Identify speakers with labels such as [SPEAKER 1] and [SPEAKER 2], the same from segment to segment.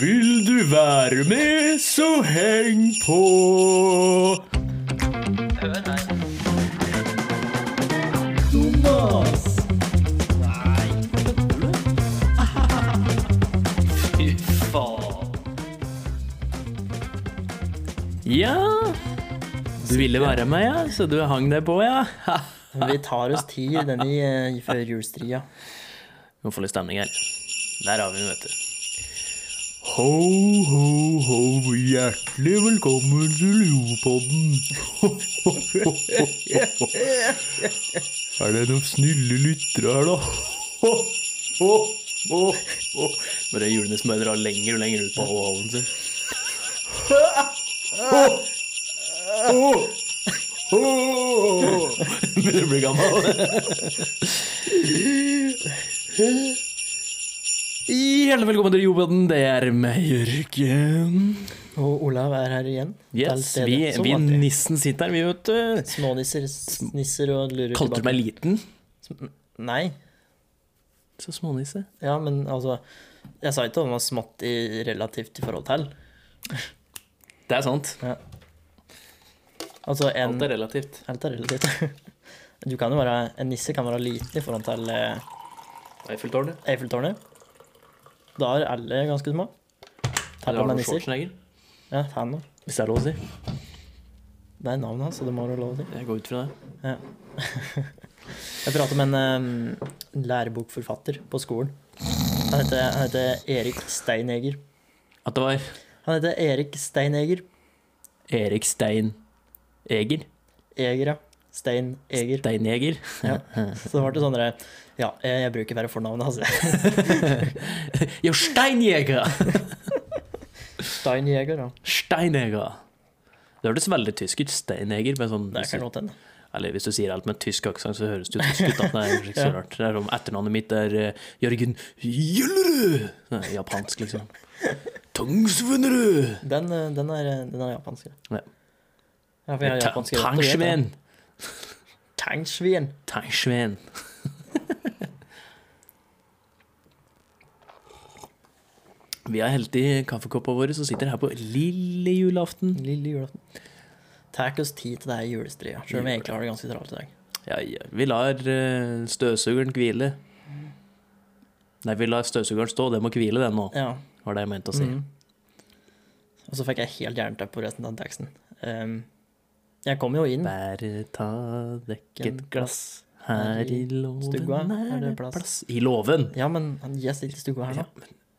[SPEAKER 1] Vil du være med, så heng på. Ja, du ville være med, ja, så du hang deg på, ja. Ha,
[SPEAKER 2] Vi tar oss tid i den i, eh, i førjulstria.
[SPEAKER 1] Nå får litt stemning her. Der har vi den, vet du. Ho, ho, ho, hjertelig velkommen til Jopodden. er det noen snille lyttere her, da? Bare hjulene som bare drar lenger og lenger ut på hoven sin. Begynner å bli gammel. Hjertelig velkommen til Jobben, det er meg, Jørgen.
[SPEAKER 2] Og Olav er her igjen. til
[SPEAKER 1] Yes,
[SPEAKER 2] stede,
[SPEAKER 1] vi,
[SPEAKER 2] som
[SPEAKER 1] vi
[SPEAKER 2] alltid.
[SPEAKER 1] nissen sitter her, vi, vet du.
[SPEAKER 2] Smånisser, snisser og lurer
[SPEAKER 1] Kalte du meg liten?
[SPEAKER 2] Nei.
[SPEAKER 1] Så smånisse.
[SPEAKER 2] Ja, men altså Jeg sa ikke at han var smått i relativt i forhold til.
[SPEAKER 1] Det er sant.
[SPEAKER 2] Ja. Altså en
[SPEAKER 1] Alt er relativt.
[SPEAKER 2] Alt er relativt. Du kan jo være En nisse kan være liten i forhold til eh,
[SPEAKER 1] Eiffeltårnet.
[SPEAKER 2] Eiffeltårnet. Da er alle ganske små.
[SPEAKER 1] Eller
[SPEAKER 2] Tapper med
[SPEAKER 1] Arnold
[SPEAKER 2] nisser.
[SPEAKER 1] Schwarzenegger.
[SPEAKER 2] Ja, fan da.
[SPEAKER 1] Hvis det er lov å si.
[SPEAKER 2] Det er navnet hans, så det må du ha lov til.
[SPEAKER 1] Jeg går ut fra det.
[SPEAKER 2] Ja. Jeg prater med en eh, lærebokforfatter på skolen. Han heter, han heter Erik Steineger.
[SPEAKER 1] At det var
[SPEAKER 2] Han heter Erik Steineger.
[SPEAKER 1] Erik Stein Eger.
[SPEAKER 2] Eger, ja. Steineger.
[SPEAKER 1] Steineger.
[SPEAKER 2] Så det ble det sånn der, Ja, jeg jeg bruker bare fornavnet hans. jeg.
[SPEAKER 1] Jo, Steinjeger!
[SPEAKER 2] Steineger, ja.
[SPEAKER 1] Steineger. Det hørtes veldig tysk ut. Steineger. Med sånn,
[SPEAKER 2] Det kan godt hende.
[SPEAKER 1] Eller hvis du sier alt med tysk aksent, så høres det jo tysk ut. Da. Det er kanskje ikke så rart. Det er som etternavnet mitt er eh, Jørgen Gjellerud. Det er Japansk, liksom. Tungsvinnerud.
[SPEAKER 2] Den, eh, den, er, eh, den er japansk. ja.
[SPEAKER 1] Ja.
[SPEAKER 2] Ja, for jeg har japanske røtter, du vet det.
[SPEAKER 1] Tangsvin.
[SPEAKER 2] Tangsvin.
[SPEAKER 1] Tangsvin. Vi har helt i kaffekoppa våre, som sitter her på lille julaften.
[SPEAKER 2] Lille julaften. Tar oss tid til det her julestria, selv om jeg egentlig har det ganske travelt i dag.
[SPEAKER 1] Ja, ja. Vi lar eh, støvsugeren hvile. Nei, vi lar støvsugeren stå. Den må hvile, den nå,
[SPEAKER 2] Ja.
[SPEAKER 1] var det jeg mente å si.
[SPEAKER 2] Mhm.
[SPEAKER 1] Mm.
[SPEAKER 2] Og så fikk jeg helt jernteppe på resten av teksten. Ehm, jeg kom jo
[SPEAKER 1] Mm.
[SPEAKER 2] inn.
[SPEAKER 1] Bare ta dekk et
[SPEAKER 2] En
[SPEAKER 1] glass. Her i låven
[SPEAKER 2] stugga
[SPEAKER 1] er det
[SPEAKER 2] plass.
[SPEAKER 1] plass. I låven?
[SPEAKER 2] Ja, men jeg sitter i stua her nå.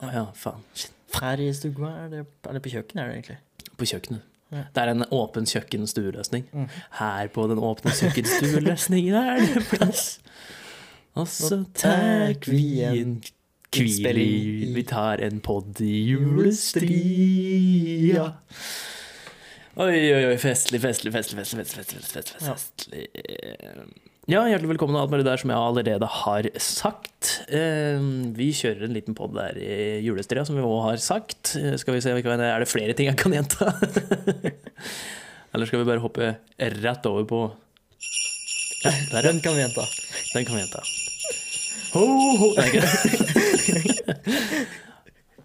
[SPEAKER 1] Å ja, faen. Shit.
[SPEAKER 2] Her i stua er det Eller på kjøkkenet er det egentlig.
[SPEAKER 1] På kjøkkenet.
[SPEAKER 2] Ja.
[SPEAKER 1] Det er en åpen kjøkkenstueløsning.
[SPEAKER 2] Mhm.
[SPEAKER 1] Her på den åpne kjøkkenstueløsningen er det plass. Og så tar vi en hvil i
[SPEAKER 2] innspilling i-
[SPEAKER 1] Vi tar en podd i julestria. Oi, oi, oi. Festlig, festlig, festlig, festlig. festlig, festlig, festlig,
[SPEAKER 2] Ja.
[SPEAKER 1] festlig. Eh, Ja, hjertelig velkommen og alt mulig der som jeg allerede har sagt. Eh, Vi kjører en liten podd der i julestria, som vi òg har sagt. Eh, Skal vi se, hva- Er det flere ting jeg kan gjenta? Eller skal vi bare hoppe rett over på ja, Der, ja.
[SPEAKER 2] Den kan vi gjenta.
[SPEAKER 1] Den kan vi gjenta. Ho, ho. Nei, ikke det.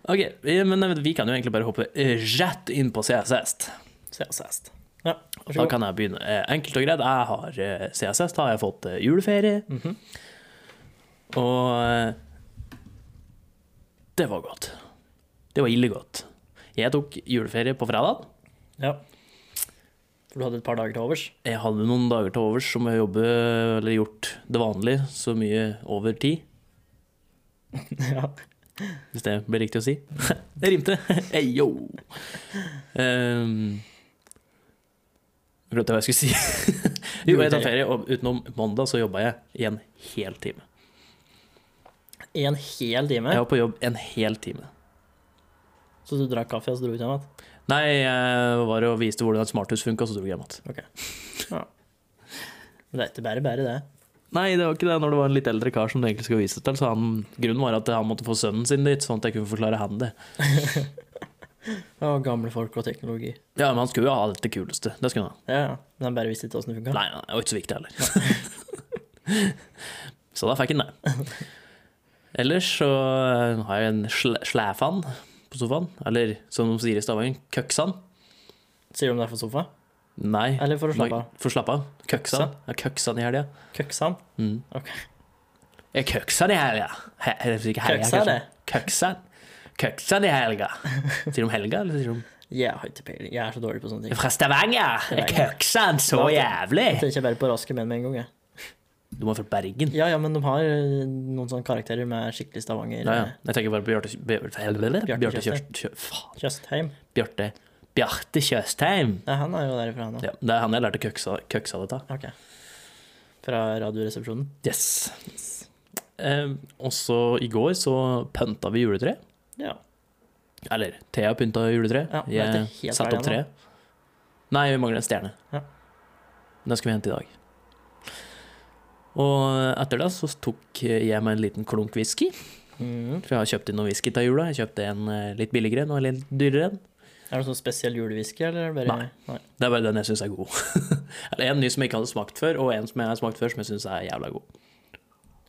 [SPEAKER 1] OK, eh, men nei, vi kan jo egentlig bare hoppe eh, rett inn på CSS.
[SPEAKER 2] Ses sist. Ja, vær så
[SPEAKER 1] Da
[SPEAKER 2] god.
[SPEAKER 1] kan jeg begynne. Eh, Enkelt og greit, jeg har eh, CSS, da har jeg fått eh, juleferie. Og eh, det var godt. Det var ille godt. Jeg tok juleferie på fredag.
[SPEAKER 2] Ja. For du hadde et par dager til overs?
[SPEAKER 1] Jeg hadde noen dager til overs som jeg jobbe, eller gjort det vanlige, så mye over tid.
[SPEAKER 2] ja.
[SPEAKER 1] Hvis det blir riktig å si. det rimte! Hey, yo! Um, glemte hva jeg skulle si. jo, jeg tar ferie, og utenom mandag så jobba jeg i en hel time.
[SPEAKER 2] I en hel time?
[SPEAKER 1] Jeg var på jobb en hel time.
[SPEAKER 2] Så du drakk kaffe, og så dro du ut igjen? vet du.
[SPEAKER 1] Nei, jeg var og viste hvordan et smarthus funka, så dro jeg hjem igjen.
[SPEAKER 2] Men det er ikke bare bare, det.
[SPEAKER 1] Nei, det var ikke det når det var en litt eldre kar som det egentlig skulle vises til. Så han, grunnen var at han måtte få sønnen sin dit, sånn at jeg kunne forklare han det.
[SPEAKER 2] Og gamle folk og teknologi.
[SPEAKER 1] Ja, men han skulle jo ha dette kuleste. Det skulle han ha.
[SPEAKER 2] Ja, ja. Men han bare visste ikke åssen det funka.
[SPEAKER 1] Nei, nei, det var ikke så viktig heller. eh, så da fikk jeg den, det. Ellers så har jeg en sl- slæfan på på sofaen. Eller som de sier i Stavanger, køksan.
[SPEAKER 2] Sier du om det er for sofa?
[SPEAKER 1] Nei.
[SPEAKER 2] Eller for å slappe av?
[SPEAKER 1] For å slappe av. Køksan.
[SPEAKER 2] Køksan?
[SPEAKER 1] Ja, køksan i helga.
[SPEAKER 2] Køksan?
[SPEAKER 1] Mm.
[SPEAKER 2] Ok.
[SPEAKER 1] Jeg køksan i helga. He- eller ikke helga,
[SPEAKER 2] Køksa,
[SPEAKER 1] kanskje.
[SPEAKER 2] det.
[SPEAKER 1] Køksan. Køksan i helga. Sier de helga, eller sier de
[SPEAKER 2] Jeg har ikke peiling. Jeg er så dårlig på sånne ting.
[SPEAKER 1] Fra Stavanger! Jeg køksan så
[SPEAKER 2] Jeg
[SPEAKER 1] jævlig!
[SPEAKER 2] tenker bare på raske menn med en gang, jeg.
[SPEAKER 1] Du må fra Bergen.
[SPEAKER 2] Ja, ja, men de har eh, noen sånne karakterer med skikkelig Stavanger.
[SPEAKER 1] Ja, ja. Jeg tenker bare på Bjarte Bjarte- Bjarte
[SPEAKER 2] Tjøstheim.
[SPEAKER 1] Kjøst- Kjø- faen,
[SPEAKER 2] eh, Tjøstheim.
[SPEAKER 1] Bjarte Bjarte Tjøstheim!
[SPEAKER 2] Ja, han er jo derifra, han òg.
[SPEAKER 1] Ja, det er han jeg lærte køksa, køksa dette.
[SPEAKER 2] Ok. Fra Radioresepsjonen.
[SPEAKER 1] Yes. Eh, og så i går så pynta vi juletreet.
[SPEAKER 2] Ja.
[SPEAKER 1] Eller Thea pynta juletreet.
[SPEAKER 2] Ja, men det er
[SPEAKER 1] jeg
[SPEAKER 2] helt
[SPEAKER 1] satte opp
[SPEAKER 2] ferdig
[SPEAKER 1] treet. Nei, vi mangler en stjerne.
[SPEAKER 2] Ja.
[SPEAKER 1] Den skal vi hente i dag. Og etter det så tok jeg meg en liten klunk whisky.
[SPEAKER 2] Mm.
[SPEAKER 1] For jeg har kjøpt inn noe whisky til jula. Jeg kjøpte en eh, litt billigere en og en litt dyrere en.
[SPEAKER 2] Er det noen sånn spesiell julewhisky, eller er det bare Nei.
[SPEAKER 1] Det er bare den jeg syns er god. Eller en ny som jeg ikke hadde smakt før, og en som jeg har smakt før som jeg syns er jævla god.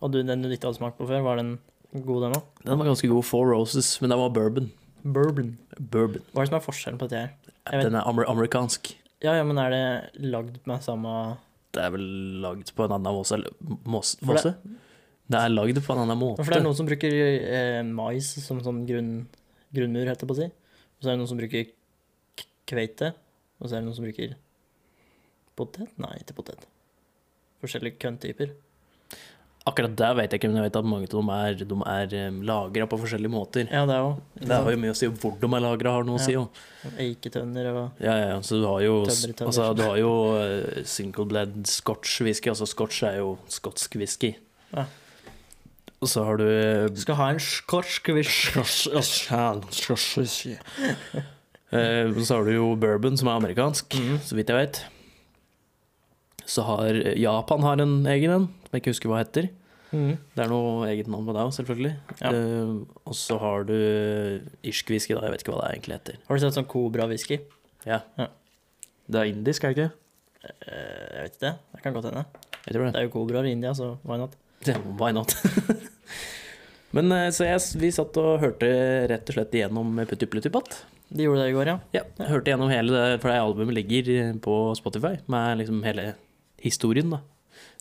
[SPEAKER 2] Og du, den du ikke hadde smakt på før, var den god, den òg?
[SPEAKER 1] Den var ganske god. Four Roses, men den var bourbon.
[SPEAKER 2] Bourbon.
[SPEAKER 1] Bourbon.
[SPEAKER 2] Hva er det som er forskjellen på dette her? Jeg vet-
[SPEAKER 1] Den er amer amerikansk.
[SPEAKER 2] Ja, ja, men er det lagd med samme
[SPEAKER 1] Det er vel lagd på en annen måse eller mås-
[SPEAKER 2] For det-
[SPEAKER 1] måse? Det er lagd på en annen måte.
[SPEAKER 2] For det er noen som bruker eh, mais som sånn grunn, grunnmur, heter det på å si. Og så er det noen som bruker k- kveite. Og så er det noen som bruker potet? Nei, ikke potet. Forskjellige kønntyper.
[SPEAKER 1] Akkurat det vet jeg ikke, men jeg vet at mange av dem er, de er lagra på forskjellige måter.
[SPEAKER 2] Ja, det òg.
[SPEAKER 1] Det har jo mye å si hvor de er lagra, har noe å
[SPEAKER 2] Ja.
[SPEAKER 1] si jo.
[SPEAKER 2] Eiketønner og
[SPEAKER 1] Ja, ja, så du har jo,
[SPEAKER 2] Tømmer i tømmer.
[SPEAKER 1] altså, du har jo eh, single bled scotch whisky, altså scotch er jo skotsk whisky.
[SPEAKER 2] Ja.
[SPEAKER 1] Og så har du eh,
[SPEAKER 2] Skal ha en skorsk visj.
[SPEAKER 1] Eh, Så har du jo bourbon, som er amerikansk,
[SPEAKER 2] Mhm.
[SPEAKER 1] så vidt jeg vet. Så har eh, Japan har en egen en, som jeg ikke husker hva heter.
[SPEAKER 2] Mm.
[SPEAKER 1] Det er noe eget navn på deg òg, selvfølgelig.
[SPEAKER 2] Ja.
[SPEAKER 1] Eh, og så har du eh, irsk whisky, da. Jeg vet ikke hva det egentlig heter.
[SPEAKER 2] Har du sett sånn Cobra-whisky?
[SPEAKER 1] Det er indisk, er det ikke?
[SPEAKER 2] Eh, jeg vet ikke det. Det kan godt hende.
[SPEAKER 1] Jeg tror det.
[SPEAKER 2] Det er jo cobraer i India, så why not?
[SPEAKER 1] Ja, Why not? Men eh, så jeg, vi satt og hørte rett og slett igjennom Puttipluttippatt.
[SPEAKER 2] De gjorde det i går, ja.
[SPEAKER 1] Ja, hørte igjennom hele det, for det albumet ligger på Spotify med liksom hele historien, da.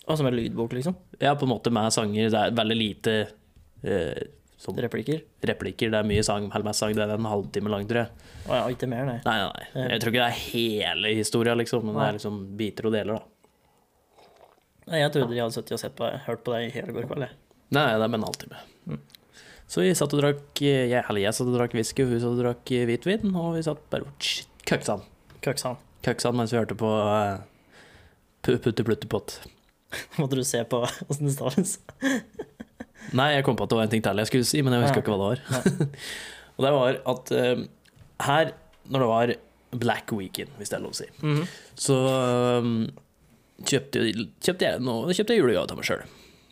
[SPEAKER 2] Og som en lydbok, liksom.
[SPEAKER 1] Ja, på en måte med sanger. Det er veldig lite eh, sånn
[SPEAKER 2] Replikker.
[SPEAKER 1] replikker. Det er mye sang, halvmest sang. Det er en halvtime lang, tror jeg.
[SPEAKER 2] Å ja, ikke mer, nei.
[SPEAKER 1] Nei, nei, nei. Jeg tror ikke det er hele historia, liksom, men det
[SPEAKER 2] Nei.
[SPEAKER 1] er liksom biter og deler, da.
[SPEAKER 2] Nei, Jeg trodde de hadde sittet og sett på, hørt på deg i hele går kveld. jeg.
[SPEAKER 1] Nei, det er bare en halvtime.
[SPEAKER 2] Mm.
[SPEAKER 1] Så vi satt og drakk eh, jeg, eller jeg satt og drakk whisky, og hun satt og drakk eh, hvitvin, og vi satt bare oh, og ch- køksan.
[SPEAKER 2] Køksan.
[SPEAKER 1] Køksan mens vi hørte på eh, Pu- Putte-plutte-pott.
[SPEAKER 2] Måtte du se på åssen det stavs?
[SPEAKER 1] Nei, jeg kom på at det var en ting til jeg skulle si, men jeg husker
[SPEAKER 2] Ja.
[SPEAKER 1] ikke hva det var. og det var at eh, her, når det var Black Weekend, hvis det er lov å si, så eh, kjøpte, kjøpte jeg noe, kjøpte jeg julegave til meg sjøl.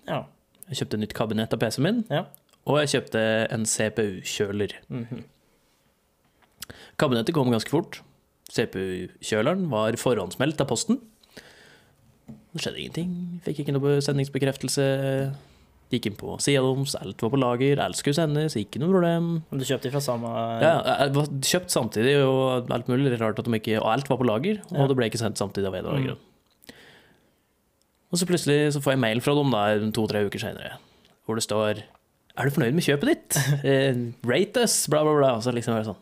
[SPEAKER 2] Ja.
[SPEAKER 1] Jeg kjøpte nytt kabinett av PC-en min,
[SPEAKER 2] Ja.
[SPEAKER 1] og jeg kjøpte en CPU-kjøler.
[SPEAKER 2] Mhm.
[SPEAKER 1] Kabinettet kom ganske fort. CPU-kjøleren var forhåndsmeldt av posten. Det skjedde ingenting. Fikk ikke noe sendingsbekreftelse. Gikk inn på sida deres, alt var på lager, alt skulle sendes, ikke noe problem.
[SPEAKER 2] Men du kjøpte fra samme
[SPEAKER 1] Ja, jeg var kjøpt samtidig, og alt mulig rart at de ikke Og alt var på lager, og
[SPEAKER 2] Ja.
[SPEAKER 1] det ble ikke sendt samtidig av en eller annen
[SPEAKER 2] Mm.
[SPEAKER 1] grunn. Og så plutselig så får jeg mail fra dem da, to-tre uker senere, hvor det står Er du fornøyd med kjøpet ditt? Eh, rate us, bla, bla, bla. Og så liksom bare sånn